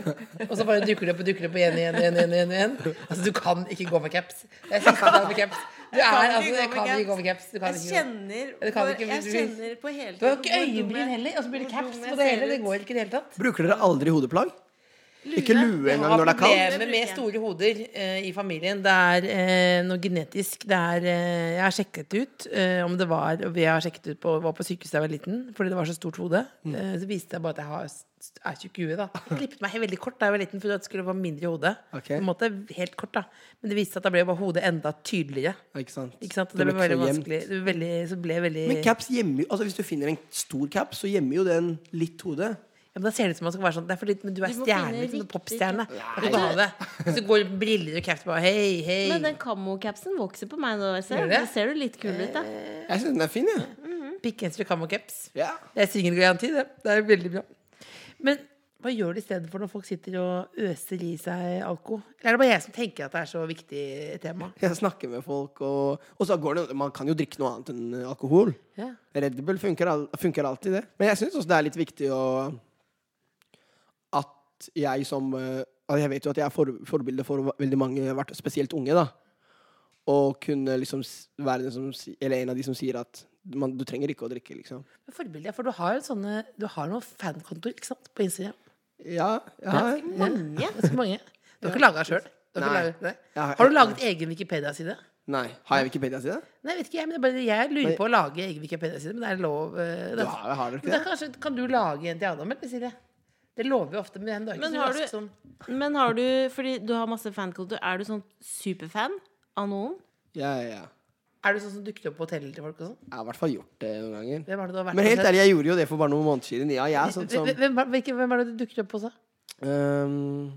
Speaker 2: Og så bare dukker det opp og dukker det opp igjen, igjen, igjen, igjen, igjen, igjen. Altså, du kan ikke gå med caps. Jeg synes ikke du kan gå med caps. Du er
Speaker 4: kan ikke
Speaker 2: altså,
Speaker 4: gå
Speaker 2: det
Speaker 4: med
Speaker 2: kan
Speaker 4: caps.
Speaker 2: ikke gå med caps. Det kan
Speaker 4: Jeg
Speaker 2: ikke gå.
Speaker 4: kjenner,
Speaker 2: det kan
Speaker 4: på-
Speaker 2: ikke
Speaker 4: jeg
Speaker 2: bli-
Speaker 4: kjenner på hele
Speaker 2: Du har
Speaker 4: tiden hvor dum
Speaker 2: jo ikke
Speaker 4: jeg-
Speaker 2: øyebryn heller, og så blir det
Speaker 4: hvor
Speaker 2: caps
Speaker 4: dum
Speaker 2: på
Speaker 4: jeg
Speaker 2: det
Speaker 4: ser
Speaker 2: hele. Det
Speaker 4: ut.
Speaker 2: går ikke i det hele tatt.
Speaker 5: Bruker dere aldri hodeplagg? Ikke lue
Speaker 2: Jeg
Speaker 5: engang
Speaker 2: har
Speaker 5: når det er kaldt?
Speaker 2: problemer med store hoder eh, i familien. Det er eh, noe genetisk. Det er, eh, jeg har sjekket ut eh, om det var og Vi har sjekket ut på, var på sykehuset da jeg var liten fordi det var så stort hode.
Speaker 5: Mm.
Speaker 2: Eh, så viste det seg bare at jeg har, s- er tjukk i huet. da. Jeg klippet meg veldig kort da jeg var liten fordi det skulle være mindre i hodet.
Speaker 5: Ok.
Speaker 2: På en måte helt kort da Men det viste seg at da ble bare hodet enda tydeligere.
Speaker 5: Ikke sant?
Speaker 2: Ikke sant?
Speaker 5: Det
Speaker 2: Det, ble
Speaker 5: blir ikke
Speaker 2: veldig
Speaker 5: så
Speaker 2: vanskelig. Det ble veldig, så ble veldig
Speaker 5: Men caps gjemmer jo Altså Hvis du finner en stor caps, så gjemmer jo den litt hodet.
Speaker 2: Ja, men Da ser det ut som man skal være sånn Det er fordi men du er
Speaker 4: Du må
Speaker 2: stjerne,
Speaker 4: finne
Speaker 2: liksom,
Speaker 4: riktig
Speaker 2: popstjerne. Da kan du ha det. Hvis du går med briller og caps bare hei, hei.
Speaker 4: Men den kamokapsen vokser på meg nå. Ser.
Speaker 2: Gjør
Speaker 4: du?
Speaker 2: det?
Speaker 4: Da ser du litt kul ut, da.
Speaker 5: Jeg syns den er fin, jeg.
Speaker 2: Pikkgenser og camocaps.
Speaker 5: Ja.
Speaker 2: Det er singelgaranti, det. Det er veldig bra. Men hva gjør du i stedet for når folk sitter og øser i seg alko? Eller er det bare jeg som tenker at det er så viktig tema?
Speaker 5: Jeg snakker med folk, og, og så går det Man kan jo drikke noe annet enn alkohol.
Speaker 2: Ja.
Speaker 5: Red Bull funker, al funker alltid, det. Men jeg syns også det er litt viktig å At jeg som eh, altså Jeg vet jo at jeg er for, forbilde for veldig mange, i hvert fall spesielt unge, da. Og kunne liksom s- være den som, si- eller en av de som sier at man, du trenger ikke å drikke, liksom.
Speaker 2: Men Forbilde, for du har jo sånne Du har noen fankontoer, ikke sant, på Instagram?
Speaker 5: Ja, ja, ja.
Speaker 2: Mange. Ganske mange. Du har ikke laga sjøl?
Speaker 5: Nei. Ja,
Speaker 2: Har du
Speaker 5: ja.
Speaker 2: laget egen Wikipedia-side?
Speaker 5: Nei. Har jeg Wikipedia-side?
Speaker 2: Nei, vet ikke jeg, men det er bare, jeg lurer
Speaker 5: Men-
Speaker 2: på å lage egen Wikipedia-side, men det er lov. eh,
Speaker 5: Du
Speaker 2: det-
Speaker 5: har, har dere
Speaker 2: men
Speaker 5: ikke
Speaker 2: da
Speaker 5: det?
Speaker 2: kanskje, kan du lage en til Adam, eller Silje? Det lover jo ofte, men det er ikke
Speaker 4: Men
Speaker 2: så
Speaker 4: har
Speaker 2: raskt
Speaker 4: du-
Speaker 2: som
Speaker 4: Men har du Fordi du har masse fankultur. Er du sånn superfan av noen?
Speaker 5: Ja, ja, ja.
Speaker 2: Er du sånn som dukker opp på hoteller til folk og sånn?
Speaker 5: Jeg har i hvert fall gjort det noen ganger.
Speaker 2: Hvem er det du har vært
Speaker 5: Men helt
Speaker 2: hos?
Speaker 5: ærlig, jeg gjorde jo det for bare noen måneder siden. Ja, jeg er sånn som
Speaker 2: Hvem- Hvem, er- hvilke- hvem er det du dukker opp hos, da?
Speaker 5: Ehm,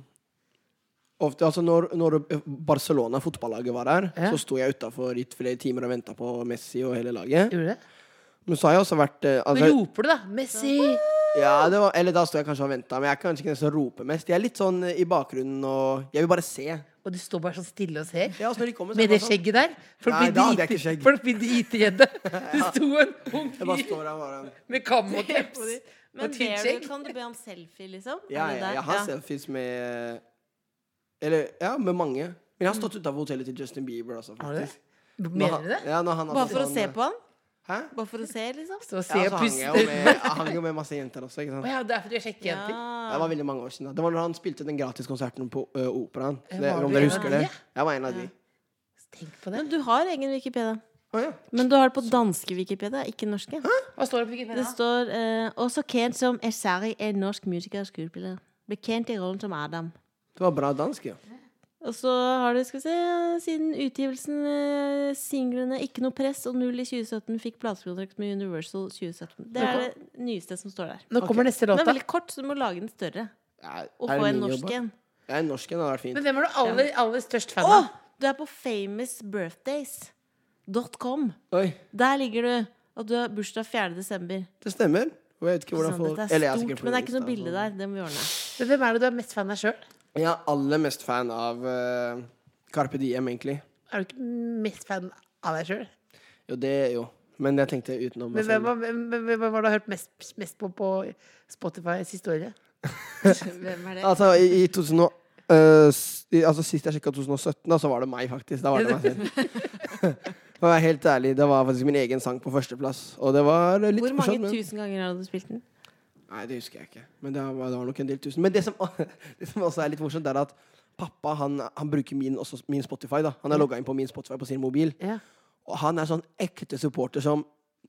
Speaker 5: Ofte, altså når, når Barcelona, fotballaget, var her,
Speaker 2: Ja.
Speaker 5: så sto jeg utafor i flere timer og venta på Messi og hele
Speaker 2: Gjorde
Speaker 5: laget.
Speaker 2: du det?
Speaker 5: Men så har jeg også vært eh,
Speaker 2: Nå
Speaker 5: altså,
Speaker 2: roper du, da. Messi!
Speaker 5: ja, det var, Eller da sto jeg kanskje og venta, men jeg er kanskje ikke den som roper mest. Jeg er litt sånn eh, i bakgrunnen og Jeg vil bare se.
Speaker 2: Og du står bare sånn stille og ser.
Speaker 5: Ja, altså, når de kommer, så
Speaker 2: Med det
Speaker 5: er jeg bare sånn.
Speaker 2: skjegget der. Folk
Speaker 5: Nei,
Speaker 2: blir
Speaker 5: da hadde jeg
Speaker 2: drit-
Speaker 5: ikke skjegg.
Speaker 2: Folk blir dritredde. Det sto en ung
Speaker 5: Jeg bare
Speaker 2: fyr
Speaker 5: står der bare
Speaker 2: med kam og caps og
Speaker 4: Men ber
Speaker 2: tynt
Speaker 4: du,
Speaker 2: skjegg.
Speaker 4: kan du be om selfie, liksom?
Speaker 5: Ja,
Speaker 4: Er det
Speaker 5: ja,
Speaker 4: der?
Speaker 5: jeg har
Speaker 4: Ja.
Speaker 5: selfies med Eller ja, med mange. Men jeg har stått utafor hotellet til Justin Bieber også,
Speaker 2: Har du det?
Speaker 5: faktisk. Når
Speaker 2: Mener
Speaker 5: han-
Speaker 2: du det?
Speaker 5: Ja, når han hadde
Speaker 4: Bare for å
Speaker 5: sånn-
Speaker 4: se på han?
Speaker 5: Hæ?
Speaker 4: Bare for å se, liksom?
Speaker 2: Så
Speaker 5: Ja,
Speaker 2: ser jeg
Speaker 5: så hang jeg
Speaker 2: pusten
Speaker 5: jo med, jeg hang jo med masse jenter også, ikke sant.
Speaker 2: Å ja, det er fordi jeg sjekker jenter.
Speaker 5: Det var veldig mange år siden. da Det var når han spilte den gratiskonserten på ø, Operaen.
Speaker 2: Ja, var
Speaker 5: Det, om
Speaker 2: du en
Speaker 5: dere
Speaker 2: av de?
Speaker 5: husker det? Jeg var en av de.
Speaker 2: Tenk på det.
Speaker 4: Men du har egen Wikipedia.
Speaker 5: Å, ja.
Speaker 4: Men du har det på danske Wikipedia, ikke norske.
Speaker 2: Hva står det på Wikipedia?
Speaker 4: Det står eh, også kjent som Esari, en norsk musiker og skuespiller. Ble kjent i rollen som Adam.
Speaker 5: Det var bra dansk, ja.
Speaker 4: Og så har det, skal vi se, siden utgivelsen eh, singlene 'Ikke noe press' og 'Null' i 2017 fikk platekontrakt med Universal 2017. Det er det nyeste som står der.
Speaker 2: Nå kommer neste
Speaker 4: Den
Speaker 2: låt,
Speaker 4: er
Speaker 2: da.
Speaker 4: veldig kort, så du må lage den større.
Speaker 5: Ja,
Speaker 4: Og
Speaker 5: er det
Speaker 4: få en
Speaker 5: min
Speaker 4: norsk
Speaker 5: jobb, da?
Speaker 4: en.
Speaker 5: Ja, en norsk en hadde vært fint.
Speaker 2: Men hvem er du aller, aller størst fan
Speaker 4: Å!
Speaker 2: av?
Speaker 4: Du er på famousbirthdays.com.
Speaker 5: Oi,
Speaker 4: Der ligger du. At du har bursdag 4. desember.
Speaker 5: det stemmer. Og jeg vet ikke
Speaker 4: Sånn,
Speaker 5: hvordan folk
Speaker 4: dette er
Speaker 5: Eller jeg er
Speaker 4: stort,
Speaker 5: sikkert på
Speaker 4: men det er ikke
Speaker 5: lista,
Speaker 4: noe bilde
Speaker 5: så-
Speaker 4: der. Det må vi ordne.
Speaker 2: Men hvem er det du er mest fan av sjøl?
Speaker 5: Jeg er aller mest fan av ø, Carpe Diem, egentlig.
Speaker 2: Er du ikke mest fan av deg sjøl?
Speaker 5: Jo, det jo. Men jeg tenkte utenom meg
Speaker 2: Men hvem,
Speaker 5: selv.
Speaker 2: var- hvem, hvem, hvem var det du har hørt mest, mest på på Spotify siste året?
Speaker 4: Hvem er det?
Speaker 5: Altså, i, i 2000 og, ø, s- i, altså, Sist jeg sjekka 2017, da, så var det meg, faktisk. Da var det meg selv. For å være helt ærlig, Det var faktisk min egen sang på førsteplass. Og det var litt
Speaker 4: Hvor
Speaker 5: morsomt,
Speaker 4: mange
Speaker 5: men-
Speaker 4: tusen ganger har du spilt den?
Speaker 5: Nei, det husker jeg ikke. Men det var, det var nok en del tusen. Men det som, det som også er litt morsomt, det er at pappa han, han bruker min, også min Spotify. da Han er logga inn på min Spotify på sin mobil.
Speaker 2: Ja.
Speaker 5: Og han er sånn ekte supporter som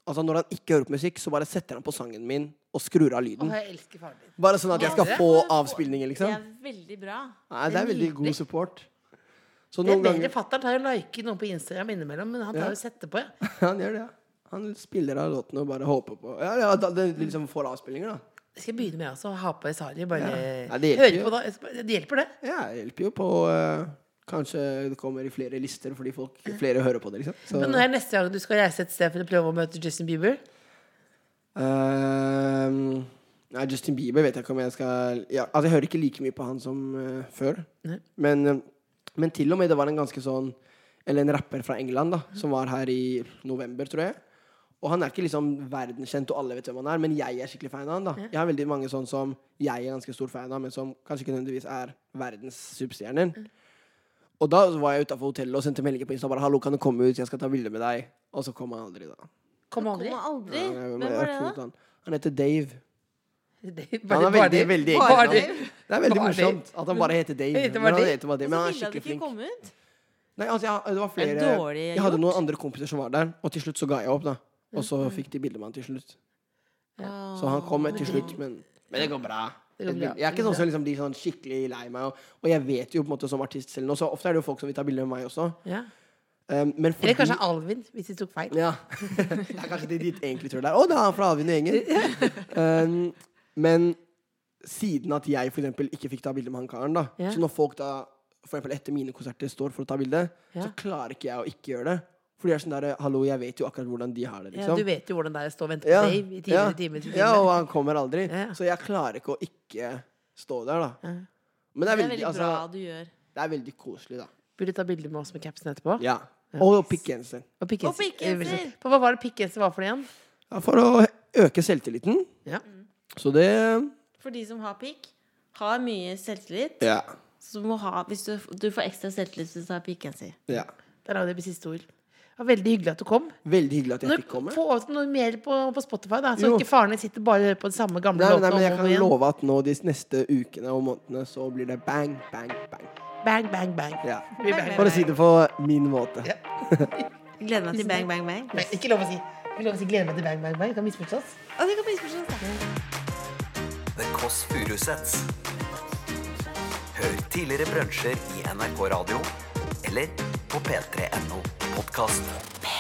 Speaker 5: Altså Når han ikke hører på musikk, så bare setter han på sangen min og skrur av lyden.
Speaker 2: Å, jeg elsker faren din.
Speaker 5: Bare sånn at jeg skal
Speaker 2: Ja, det-
Speaker 5: få avspillinger,
Speaker 4: Det
Speaker 5: liksom.
Speaker 4: er veldig bra.
Speaker 5: Nei, det er veldig god support. Så
Speaker 2: Det
Speaker 5: noen
Speaker 2: er bedre
Speaker 5: ganger
Speaker 2: fatter'n tar jo like noen på Instagram innimellom, men han tar jo sette på, ja.
Speaker 5: Han gjør det, ja. Han spiller av låtene og bare håper på Ja, ja, da, det liksom får avspillinger, da.
Speaker 2: Det skal jeg begynne med også. å Ha på Sari. Bare
Speaker 5: Ja, det hjelper
Speaker 2: høre
Speaker 5: jo.
Speaker 2: på, da. Det hjelper, det.
Speaker 5: Ja, det hjelper jo på eh, Kanskje det kommer i flere lister fordi folk, flere hører på det, liksom. Så-
Speaker 2: Men når er neste gang du skal reise et sted for å prøve å møte Justin Bieber?
Speaker 5: Ehm, nei, Justin Bieber vet jeg ikke om jeg skal ja, Altså, jeg hører ikke like mye på han som eh, før.
Speaker 2: Nei.
Speaker 5: Men, eh, men til og med det var en ganske sånn Eller en rapper fra England da som var her i november, tror jeg. Og han er ikke liksom verdenskjent, og alle vet hvem han er, men jeg er skikkelig fan av han. da Jeg har veldig mange sånn som jeg er ganske stor fan av, men som kanskje ikke nødvendigvis er verdens superstjerner. Og da var jeg utafor hotellet og sendte meldinger på Insta bare 'Hallo, kan du komme ut? Jeg skal ta bilde med deg.' Og så kom han aldri, da.
Speaker 2: Kom aldri.
Speaker 4: Kommer aldri.
Speaker 5: Ja, jeg-
Speaker 4: Hvem
Speaker 5: Eh, jeg
Speaker 4: var det,
Speaker 5: har ikke
Speaker 4: da?
Speaker 5: funnet han. Han heter Dave.
Speaker 2: Det-
Speaker 5: Han
Speaker 2: bare- bare
Speaker 5: er veldig,
Speaker 2: det-
Speaker 5: veldig
Speaker 2: bare
Speaker 5: enkel.
Speaker 2: det.
Speaker 5: Det er veldig
Speaker 2: Bare Dave.
Speaker 5: morsomt at han bare heter Dave.
Speaker 2: heter bare
Speaker 5: Men han
Speaker 2: Dave.
Speaker 5: heter bare Dave,
Speaker 4: Og
Speaker 5: men
Speaker 4: så
Speaker 5: han er
Speaker 4: ville det
Speaker 5: skikkelig
Speaker 4: ikke
Speaker 5: flink.
Speaker 4: komme ut.
Speaker 5: Nei, altså, jeg, det var
Speaker 4: Det er
Speaker 5: flere
Speaker 4: dårlig
Speaker 5: Jeg hadde
Speaker 4: gjort. Mm.
Speaker 5: noen andre kompiser som var der, og til slutt så ga jeg opp, da. Og så fikk de bilde med han til slutt. Så han kom til slutt, men Men det går bra.
Speaker 2: Det går bra.
Speaker 5: Et bilde. Jeg er ikke sånn som liksom blir sånn skikkelig lei meg, og, og jeg vet jo på en måte som artist selv nå, så ofte er det jo folk som vil ta bilde med meg også.
Speaker 2: Ja.
Speaker 5: Um, men fordi
Speaker 2: Eller kanskje Alvin, hvis de tok feil.
Speaker 5: Ja. Det er kanskje det de egentlig tror det er. Å, det er han fra Avin og gjengen. Um, men siden at jeg for eksempel ikke fikk ta bilde med han karen, da,
Speaker 2: Ja.
Speaker 5: så når folk da for eksempel etter mine konserter står for å ta bilde, så
Speaker 2: Ja.
Speaker 5: klarer ikke jeg å ikke gjøre det. Fordi jeg er sånn der Hallo, jeg vet jo akkurat hvordan de har det,
Speaker 2: Ja,
Speaker 5: liksom.
Speaker 2: du vet jo hvordan det er å stå og vente på
Speaker 5: Ja,
Speaker 2: Dave i time
Speaker 5: ja,
Speaker 2: etter time. etter
Speaker 5: ja,
Speaker 2: time.
Speaker 5: og han kommer aldri.
Speaker 2: Ja.
Speaker 5: Så jeg klarer ikke å ikke stå der, da.
Speaker 2: Ja.
Speaker 5: Men det
Speaker 4: Det
Speaker 5: er
Speaker 4: er
Speaker 5: veldig,
Speaker 4: veldig
Speaker 5: altså,
Speaker 4: bra du gjør.
Speaker 5: det er veldig koselig, da.
Speaker 2: Burde ta bilde med oss med capsen etterpå.
Speaker 5: Ja. Og pikkgenser.
Speaker 2: Og pikkgenser.
Speaker 4: Og pikkgenser.
Speaker 2: Eh, Hva var det pikkgenser var for noe igjen?
Speaker 5: Ja, for å øke selvtilliten.
Speaker 2: Ja.
Speaker 5: Så det
Speaker 4: For de som har pikk, har mye selvtillit.
Speaker 5: Ja.
Speaker 4: Så du må ha, hvis du, du får ekstra selvtillit hvis du har pikkgenser.
Speaker 5: ja.
Speaker 2: Der har vi det siste ord. Det var veldig hyggelig at du kom.
Speaker 5: Veldig hyggelig at jeg
Speaker 2: Når,
Speaker 5: fikk komme.
Speaker 2: få oss noe mer på, på Spotify, da, så
Speaker 5: Jo.
Speaker 2: ikke faren din sitter bare og hører på den samme gamle
Speaker 5: Nei,
Speaker 2: låten.
Speaker 5: nei, men jeg
Speaker 2: om og
Speaker 5: kan
Speaker 2: om igjen.
Speaker 5: love at nå de neste ukene og månedene så blir det bang, bang, bang.
Speaker 2: Bang, bang, bang.
Speaker 5: Ja.
Speaker 2: Vi bang,
Speaker 5: For å si det på min måte.
Speaker 4: Gleder meg til bang, bang, bang.
Speaker 2: Nei, ikke lov å si. Ikke lov å si 'gleder meg til bang, bang, bang'. Det kan misforstås.
Speaker 4: Å, det kan bli spørsmål.
Speaker 1: The Kåss Furuseths. Hør tidligere brunsjer i NRK Radio eller på p3.no podkast.